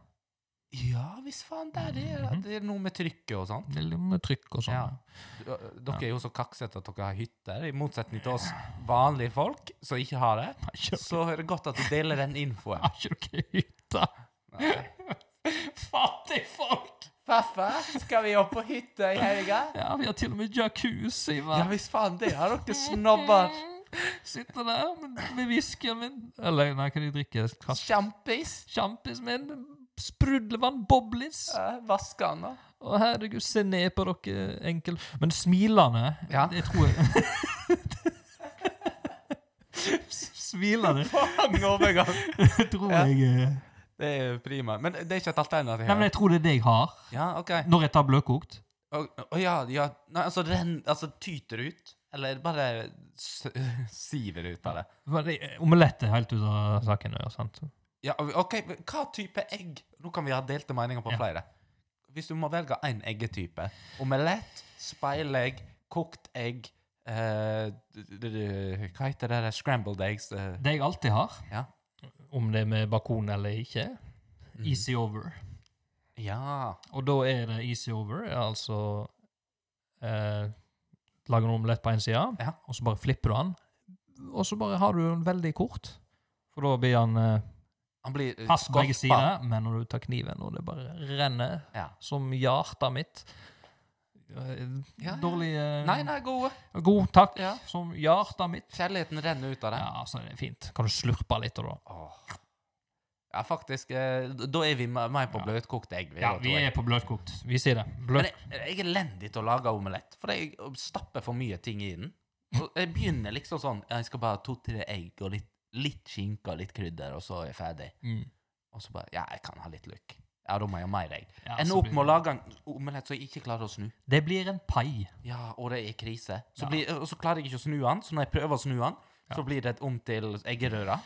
Speaker 3: Ja, hvis faen det er det. Det er noe med trykket og sånt.
Speaker 2: Det er litt med trykk og Mhm. sånn.
Speaker 3: Ja. Dere er jo så kaksete at dere har hytter, i motsetning til oss vanlige folk som ikke har det.
Speaker 2: Har ikke
Speaker 3: Så er det godt at du deler den infoen.
Speaker 2: har ikke dere hytte? Fattige folk!
Speaker 3: Pappa, skal vi opp på hytta i helga?
Speaker 2: Ja, vi har til og med jacuzzi.
Speaker 3: Ja,
Speaker 2: hva? Mm.
Speaker 3: hvis faen det har dere snobber.
Speaker 2: Sitter der med, med whiskyen min Eller nei, hva de drikker? Kast-
Speaker 3: Sjampis.
Speaker 2: Sjampis min? Sprudlevann? Boblis?
Speaker 3: Ja, Vasker han nå?
Speaker 2: Å, herregud, se ned på dere enkel... Men smilende,
Speaker 3: Ja.
Speaker 2: det tror jeg Smilende
Speaker 3: Faen, overgang.
Speaker 2: tror
Speaker 3: Ja.
Speaker 2: jeg eh,
Speaker 3: Det er prima. Men det er ikke et alternativ.
Speaker 2: Nei, men jeg tror det er det jeg har
Speaker 3: Ja, OK.
Speaker 2: når jeg tar bløtkokt.
Speaker 3: Å å ja, ja. Nei, altså, den, altså tyter ut? Eller bare s siver ut av det?
Speaker 2: Men det- Omelett er helt ute av saken. nå, Ja, sant?
Speaker 3: Ja, OK, men hva type egg? Nå kan vi ha delte meninger på
Speaker 2: Ja.
Speaker 3: flere. Hvis du må velge én eggetype Omelett, speilegg, kokt egg eh, d- d- d- Hva heter det der scrambled eggs? eh,
Speaker 2: Det jeg alltid har,
Speaker 3: Ja.
Speaker 2: om det er med bakon eller ikke,
Speaker 3: Mhm.
Speaker 2: easy over.
Speaker 3: ja.
Speaker 2: Og da er det easy over, er altså eh, Lager en omelett på én side,
Speaker 3: Ja.
Speaker 2: og så bare flipper du den. Og så bare har du den veldig kort, for da blir den eh,
Speaker 3: Han blir eh,
Speaker 2: fast på begge
Speaker 3: skorpa.
Speaker 2: sider. Men når du tar kniven, og det bare renner
Speaker 3: Ja.
Speaker 2: som hjertet mitt eh,
Speaker 3: Ja, ja.
Speaker 2: Dårlig eh,
Speaker 3: Nei, nei, gode.
Speaker 2: God takk,
Speaker 3: Ja.
Speaker 2: som hjertet mitt.
Speaker 3: Kjærligheten renner ut av det.
Speaker 2: Ja, altså, det er fint. Kan du slurpe litt, og da?
Speaker 3: Åh. Ja, faktisk. eh, d- Da er vi me- mer på
Speaker 2: Ja.
Speaker 3: bløtkokte egg.
Speaker 2: Ja,
Speaker 3: da,
Speaker 2: vi
Speaker 3: tror jeg.
Speaker 2: er på bløtkokt. Vi sier det.
Speaker 3: Men
Speaker 2: Bløt.
Speaker 3: jeg, jeg er elendig til å lage omelett, for jeg stapper for mye ting i den. Og jeg begynner liksom sånn Jeg skal bare ha to-tre egg og litt, litt skinke og litt krydder, og så er jeg ferdig.
Speaker 2: Mm.
Speaker 3: Og så bare Ja, jeg kan ha litt løk. Ja, da må jeg ha mer egg.
Speaker 2: Ja,
Speaker 3: Ender
Speaker 2: så
Speaker 3: opp
Speaker 2: blir
Speaker 3: med å lage en omelett som jeg ikke klarer å snu.
Speaker 2: Det blir en pai.
Speaker 3: Ja, og det er krise. Så
Speaker 2: Ja.
Speaker 3: blir, og så klarer jeg ikke å snu den, så når jeg prøver å snu den, så blir det om til eggerøre.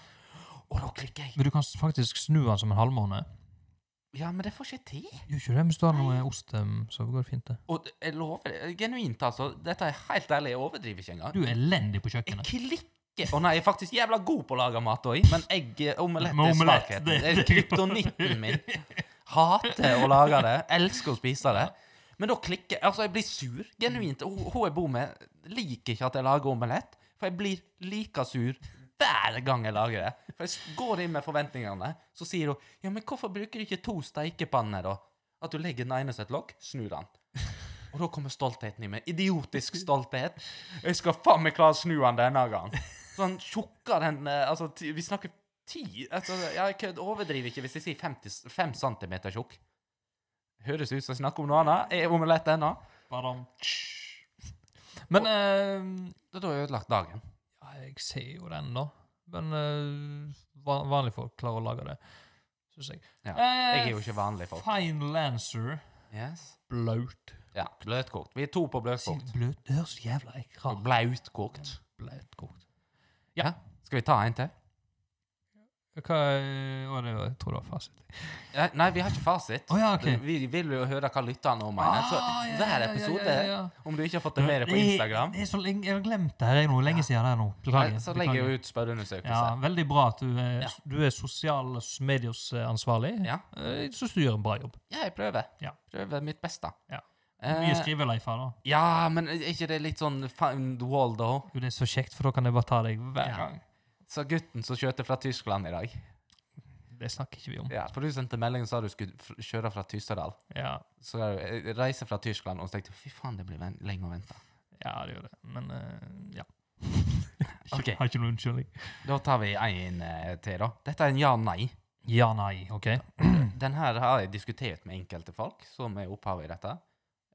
Speaker 3: Og da klikker jeg.
Speaker 2: Men du kan s- faktisk snu den som en halvmåne.
Speaker 3: Ja, men det får ikke til.
Speaker 2: Gjør ikke det, hvis du har noe ost, um, så går det fint, det.
Speaker 3: Og jeg lover, det, genuint altså, dette er helt ærlig, jeg overdriver ikke engang.
Speaker 2: Du er elendig på
Speaker 3: Jeg
Speaker 2: kjøkkenet.
Speaker 3: klikker Å nei, jeg er faktisk jævla god på å lage mat òg, men egg omelett
Speaker 2: Men
Speaker 3: er
Speaker 2: omelett,
Speaker 3: svakheten.
Speaker 2: det-
Speaker 3: Det er kryptonitten min. Hater å lage det. Elsker å spise det. Men da klikker Altså, jeg blir sur. Genuint. Hun hun jeg bor med, liker ikke at jeg lager omelett, for jeg blir like sur hver gang jeg lager det. For jeg s- går inn med forventningene, så sier hun Ja, men hvorfor bruker du ikke to steikepanner, da? At du legger den ene som et lokk, snur den. Og da kommer stoltheten i meg. Idiotisk stolthet. Jeg skal faen meg klare å snu han denne gangen. Sånn tjukka den eh, Altså, ti, vi snakker ti altså, ja, Jeg kødd- overdriver ikke hvis jeg sier 50 5 cm tjukk. Høres ut som jeg snakker om noe annet. Er omelett ennå?
Speaker 2: Badam. Men um,
Speaker 3: Da har jeg ødelagt dagen.
Speaker 2: ja, Jeg ser jo den, da. Men uh, van vanlige folk klarer å lage det, syns jeg.
Speaker 3: Ja,
Speaker 2: Eh,
Speaker 3: Jeg er jo ikke vanlig folk.
Speaker 2: Fine Lancer.
Speaker 3: Yes.
Speaker 2: Blaut.
Speaker 3: Ja, bløtkokt. Vi er to på
Speaker 2: Sier
Speaker 3: bløtkokt.
Speaker 2: Bløt. Det høres jævla ekkelt
Speaker 3: Og Blautkokt.
Speaker 2: Blautkokt.
Speaker 3: Skal vi ta en til?
Speaker 2: Hva er Å, det var, jeg tror det var fasit.
Speaker 3: Ja, Nei, vi har ikke fasit.
Speaker 2: Å ja, ok.
Speaker 3: Vi vil jo høre hva lytterne mener. Så
Speaker 2: Ah, ja, ja,
Speaker 3: hver
Speaker 2: ja,
Speaker 3: episode,
Speaker 2: ja, ja, ja.
Speaker 3: om du ikke har fått det med deg på Instagram,
Speaker 2: Det, det er så lenge, jeg har glemt det her jeg, nå. Lenge siden det er nå. Beklager.
Speaker 3: så legger
Speaker 2: beklager.
Speaker 3: jeg ut spørreundersøkelse.
Speaker 2: ja, Veldig bra at du er,
Speaker 3: Ja.
Speaker 2: du er sosiale
Speaker 4: eh,
Speaker 2: medier-ansvarlig.
Speaker 3: Ja.
Speaker 2: Jeg syns eh, du gjør en bra jobb.
Speaker 3: Ja, jeg prøver.
Speaker 2: Ja.
Speaker 3: Prøver mitt beste.
Speaker 2: Ja. Mye
Speaker 3: Eh,
Speaker 2: skriveleifer, da.
Speaker 3: ja, men er ikke det litt sånn found wall, da?
Speaker 2: Jo, det er så kjekt, for da kan jeg bare ta deg hver
Speaker 3: Ja.
Speaker 2: gang.
Speaker 3: Sa gutten som kjørte fra Tyskland i dag.
Speaker 2: Det snakker ikke vi om.
Speaker 3: Ja, For du sendte melding og sa du skulle f- kjøre fra Tyssedal.
Speaker 2: Ja.
Speaker 3: Så er du- eh, reise fra Tyskland, og så tenkte jeg fy faen, det blir ven- lenge å vente.
Speaker 4: Ja, det gjør det. Men eh, ja.
Speaker 3: Ok.
Speaker 4: Har ikke noen unnskyldning.
Speaker 3: Da tar vi en eh, til, da. Dette er en ja-nei.
Speaker 4: Ja, nei. OK.
Speaker 3: Den her har jeg diskutert med enkelte folk som er opphavet i dette.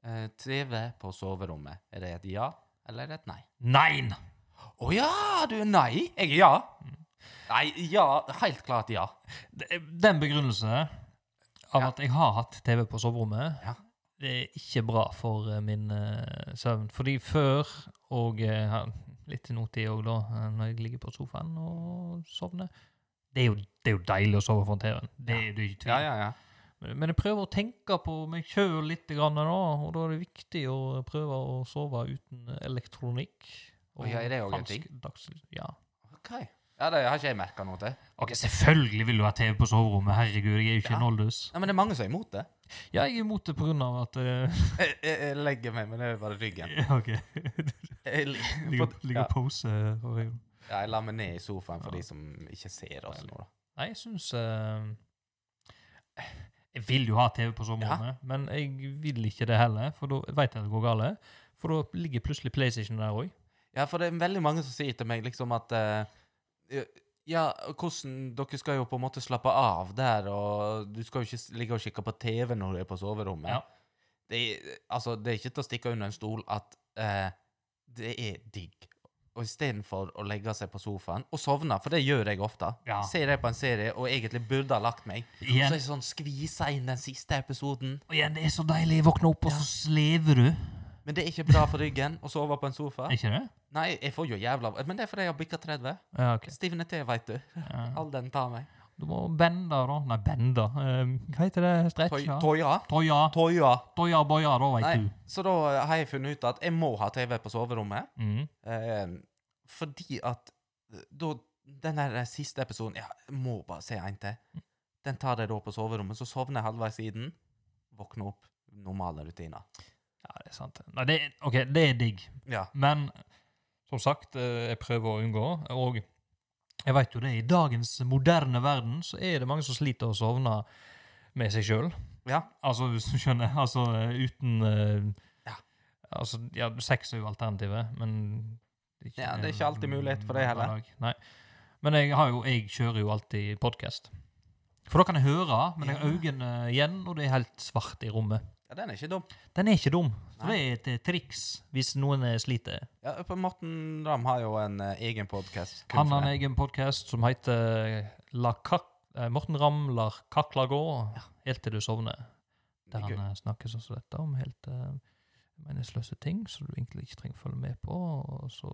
Speaker 3: Eh, TV på soverommet, er det et ja eller er det et nei?
Speaker 4: Nein!
Speaker 3: Å ja, du er nei! Jeg er ja.
Speaker 2: Mm.
Speaker 3: Nei, ja. Helt klart ja.
Speaker 4: Det- eh, Den begrunnelse av
Speaker 3: Ja.
Speaker 4: at jeg har hatt TV på soverommet,
Speaker 3: Ja.
Speaker 4: det er ikke bra for eh, min eh, søvn. Fordi før, og eh, ja, litt til nåtid òg, da, eh, når jeg ligger på sofaen og sovner det er, jo, det er jo deilig å sove foran TV-en. Det er det ikke tvil.
Speaker 3: Ja, ja, ja.
Speaker 4: Men- Men jeg prøver å tenke på meg sjøl litt, grann, da, og da er det viktig å prøve å sove uten elektronikk.
Speaker 3: Og ja, er det også en ting?
Speaker 4: dagslys. Ja.
Speaker 3: OK. Ja, Det har ikke jeg merka noe til.
Speaker 4: Ok, Selvfølgelig vil du ha TV på soverommet. Herregud, jeg er jo ikke
Speaker 3: Ja.
Speaker 4: en oldus.
Speaker 3: Nei, Men det er mange som er imot det.
Speaker 4: Ja, jeg er imot det på grunn av at eh,
Speaker 3: Jeg, jeg, jeg legger meg med det er bare ryggen.
Speaker 4: ja, OK.
Speaker 3: Jeg, li-
Speaker 4: Ligger
Speaker 3: for- ja,
Speaker 4: ligger og pose og
Speaker 3: Ja, jeg la meg ned i sofaen for de som ikke ser oss nå, da.
Speaker 4: Nei, jeg syns eh, Jeg vil jo ha TV på soverommet, men jeg vil ikke det heller, for da veit jeg at det går galt. For da ligger plutselig PlayStation der òg.
Speaker 3: Ja, for det er veldig mange som sier til meg liksom at eh, Ja, hvordan Dere skal jo på en måte slappe av der, og du skal jo ikke s- ligge og kikke på TV når du er på soverommet.
Speaker 4: Ja.
Speaker 3: Det, er- altså, det er ikke til å stikke under en stol at eh, det er digg. Og istedenfor å legge seg på sofaen og sovne, for det gjør jeg ofte
Speaker 4: Ja.
Speaker 3: Ser jeg på en serie og egentlig burde ha lagt meg, og så er
Speaker 4: Igjen,
Speaker 3: det sånn skvisa inn den siste episoden.
Speaker 4: og igjen, det er så deilig. Våkne opp, og så slever du.
Speaker 3: Men det er ikke bra for ryggen å sove på en sofa.
Speaker 4: Er ikke det?
Speaker 3: Nei, jeg får jo jævla Men det er fordi jeg har bikka 30.
Speaker 4: Ja, ok.
Speaker 3: Stivne til, veit du.
Speaker 4: Ja.
Speaker 3: All den tar meg.
Speaker 4: Du må bende, da. Nei, bende. Eh, hva heter det?
Speaker 3: Toi-
Speaker 4: Stretcha?
Speaker 3: Toya?
Speaker 4: Toya.
Speaker 3: Toya.
Speaker 4: Toya boya, da,
Speaker 3: Nei,
Speaker 4: veit du.
Speaker 3: så da har jeg funnet ut at jeg må ha TV på soverommet.
Speaker 4: Mm.
Speaker 3: Eh, fordi at eh, da Den der siste episoden Ja, jeg må bare se en til.
Speaker 4: Mm.
Speaker 3: Den tar jeg da på soverommet. Så sovner jeg halvveis i den. Våkner opp. Normale rutiner.
Speaker 4: Ja, det er sant. Nei, det, er- ok, det er digg.
Speaker 3: Ja.
Speaker 4: Men som sagt, eh, jeg prøver å unngå, og jeg veit jo det, i dagens moderne verden så er det mange som sliter å sovne med seg sjøl.
Speaker 3: Ja.
Speaker 4: Altså, hvis du skjønner, altså eh, uten eh,
Speaker 3: Ja.
Speaker 4: Altså, ja, sex er jo alternativet, men det
Speaker 3: Ja, det er ikke alltid mulighet for det heller.
Speaker 4: hver dag. Nei. Men jeg, har jo, jeg kjører jo alltid podkast. For da kan jeg høre, men jeg har øynene igjen, og det er helt svart i rommet.
Speaker 3: ja den er ikke dum.
Speaker 4: Den er ikke dum. Så det
Speaker 3: Nei.
Speaker 4: er et eh, triks hvis noen eh, sliter.
Speaker 3: Ja, på Morten Ramm har jo en eh, egen podkast.
Speaker 4: Han har en egen podkast som heter La Kak eh, Morten Ramm lar kakla gå helt til du sovner. Der han eh, snakker sånn som dette om helt eh, meningsløse ting som du egentlig ikke trenger å følge med på. Og så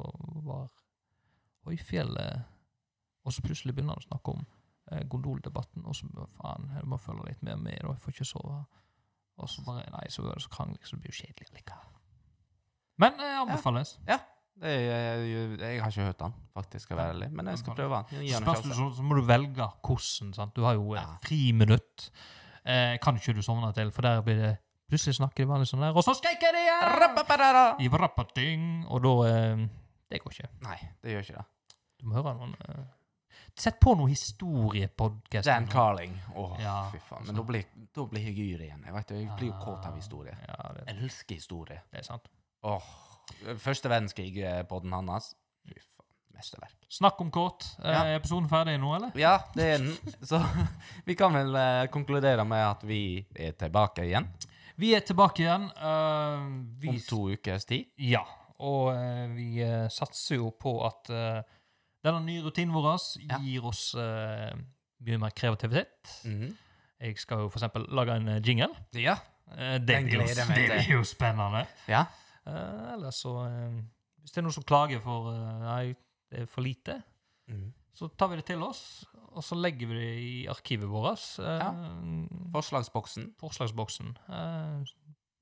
Speaker 4: var Høyfjellet Og så plutselig begynner han å snakke om eh, gondoldebatten, og så bare, faen, jeg må følge litt mer med, og jeg får ikke sove. Og så bare Nei, så er det så krangling, så det blir jo kjedelig allikevel. Men eh, anbefales.
Speaker 3: Det er, jeg, jeg har ikke hørt han, faktisk, skal jeg være ærlig. Men jeg skal prøve han. Gi han en
Speaker 4: Spørs du,
Speaker 3: sjanse.
Speaker 4: så, så må du velge hvordan. Sant? Du har jo eh,
Speaker 3: Ja.
Speaker 4: friminutt. Eh, kan ikke du sovne til, for der blir det Plutselig snakker de vanlig sånn der, og så skreiker de igjen!
Speaker 3: Rappaparara!
Speaker 4: I vrappating, og da eh, Det går ikke.
Speaker 3: Nei, det gjør ikke det.
Speaker 4: Du må høre noen eh, Sett på noe historiepodkast.
Speaker 3: Dan Carling. Åh,
Speaker 4: Ja,
Speaker 3: fy faen. Men da blir, da blir jeg yr igjen. Jeg vet, jo, jeg blir jo kåt av historie.
Speaker 4: Ja, det,
Speaker 3: Jeg elsker historie.
Speaker 4: det er sant.
Speaker 3: Åh, Første verdenskrig-podden hans. Fy faen. Mesterverk.
Speaker 4: Snakk om kåt. Eh,
Speaker 3: Ja.
Speaker 4: Er episoden ferdig nå, eller?
Speaker 3: Ja, det er den. Så vi kan vel eh, konkludere med at vi er tilbake igjen
Speaker 4: Vi er tilbake igjen. eh, vi
Speaker 3: om to ukers tid.
Speaker 4: Ja, og eh, vi eh, satser jo på at eh, denne nye rutinen vår
Speaker 3: Ja.
Speaker 4: gir oss eh, mye mer kreativitet.
Speaker 3: Mhm.
Speaker 4: Jeg skal jo for eksempel lage en eh, jingle.
Speaker 3: Ja.
Speaker 4: Eh, det,
Speaker 3: Den
Speaker 4: blir jo,
Speaker 3: gleder jeg meg
Speaker 4: det
Speaker 3: til.
Speaker 4: blir jo spennende.
Speaker 3: Ja.
Speaker 4: Eh, eller så eh, Hvis det er noen som klager for eh, Nei, det er for lite,
Speaker 3: Mhm.
Speaker 4: så tar vi det til oss, og så legger vi det i arkivet vårt. eh,
Speaker 3: Forslagsboksen.
Speaker 4: Forslagsboksen. Eh,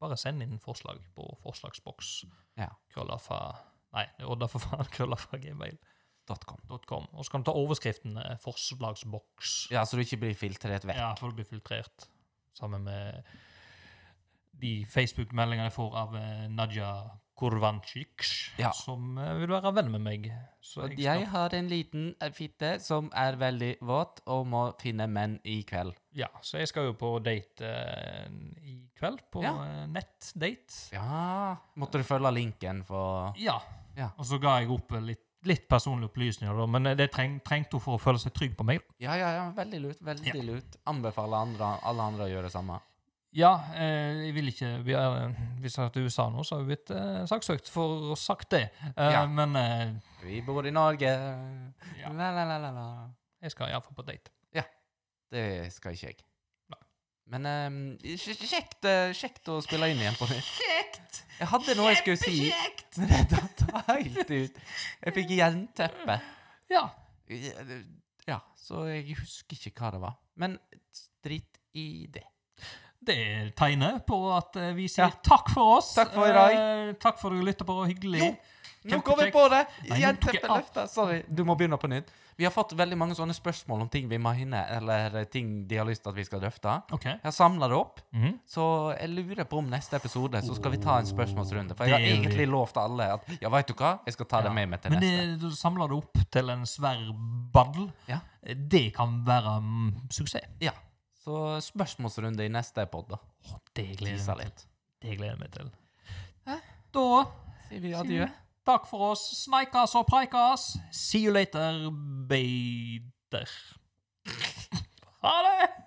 Speaker 4: bare send inn forslag på forslagsboks.
Speaker 3: Ja.
Speaker 4: Krøllafa Nei, det er Odda for faen. Krøllafa gmail.com.
Speaker 3: .com.
Speaker 4: Og så kan du ta overskriften eh, 'forslagsboks'.
Speaker 3: Ja, så du ikke blir filtrert vekk.
Speaker 4: Ja, for det blir filtrert. Sammen med de Facebook-meldingene jeg får av eh, Nadia Kurvancic,
Speaker 3: Ja.
Speaker 4: som eh, vil være venn med meg. Så
Speaker 3: Og
Speaker 4: jeg
Speaker 3: jeg
Speaker 4: skal,
Speaker 3: har en liten eh, fitte som er veldig våt og må finne menn i kveld.
Speaker 4: ja, så jeg skal jo på date eh, i kveld, på
Speaker 3: Ja.
Speaker 4: eh, nettdate.
Speaker 3: Ja Måtte du følge linken for
Speaker 4: Ja.
Speaker 3: Ja.
Speaker 4: Og så ga jeg opp eh, litt, litt personlige opplysninger, da, men eh, det treng, trengte hun for å føle seg trygg på meg.
Speaker 3: Ja, ja, ja. Veldig lurt. Veldig
Speaker 4: Ja.
Speaker 3: lurt. Anbefaler andre, alle andre å gjøre det samme.
Speaker 4: Ja, eh, jeg vil ikke vi er, eh, Hvis jeg har vært i USA nå, så har vi blitt eh, saksøkt for å ha sagt det. Eh,
Speaker 3: Ja.
Speaker 4: Men eh,
Speaker 3: Vi bor i Norge.
Speaker 4: Ja.
Speaker 3: La, la, la, la, la.
Speaker 4: jeg skal iallfall på date.
Speaker 3: Det skal ikke jeg.
Speaker 4: Nei.
Speaker 3: Men ehm, kj- kj- kjekt, eh, kjekt å spille inn igjen på nytt. Kjekt! Jeg hadde noe jeg skulle si, men det datt helt ut. Jeg fikk jernteppe.
Speaker 4: Ja.
Speaker 3: Ja, det- Ja, så jeg husker ikke hva det var. Men drit i det.
Speaker 4: Det er tegnet på at eh, vi sier
Speaker 3: Ja.
Speaker 4: takk for oss.
Speaker 3: Takk for i dag.
Speaker 4: Eh, takk for at du lytter på. Hyggelig.
Speaker 3: Jo, Nå
Speaker 4: Kjempekjekt.
Speaker 3: kom jeg på det!
Speaker 4: Nei, nå tok jeg
Speaker 3: Jernteppet løfta. Sorry. Du må begynne på nytt. Vi har fått veldig mange sånne spørsmål om ting vi må hinne, eller ting de har lyst til at vi skal drøfte.
Speaker 4: OK.
Speaker 3: Jeg har samla det opp.
Speaker 4: Mhm.
Speaker 3: Så jeg lurer på om neste episode så skal vi ta en spørsmålsrunde. For jeg har
Speaker 4: Det gjør vi.
Speaker 3: egentlig lovt alle at ja, veit du hva, jeg skal ta det
Speaker 4: Ja.
Speaker 3: med meg til
Speaker 4: Men
Speaker 3: neste.
Speaker 4: det, du samler det opp til en svær baddel.
Speaker 3: Ja.
Speaker 4: Eh, Det kan være mm, suksess.
Speaker 3: Ja. Så spørsmålsrunde i neste pod, da.
Speaker 4: Å, det gleder jeg
Speaker 3: Teaser
Speaker 4: meg til.
Speaker 3: litt.
Speaker 4: Det gleder jeg meg til. Da
Speaker 3: Sier vi adjø.
Speaker 4: takk for oss. Sneikas og preikas. See you later, beider. Ha det!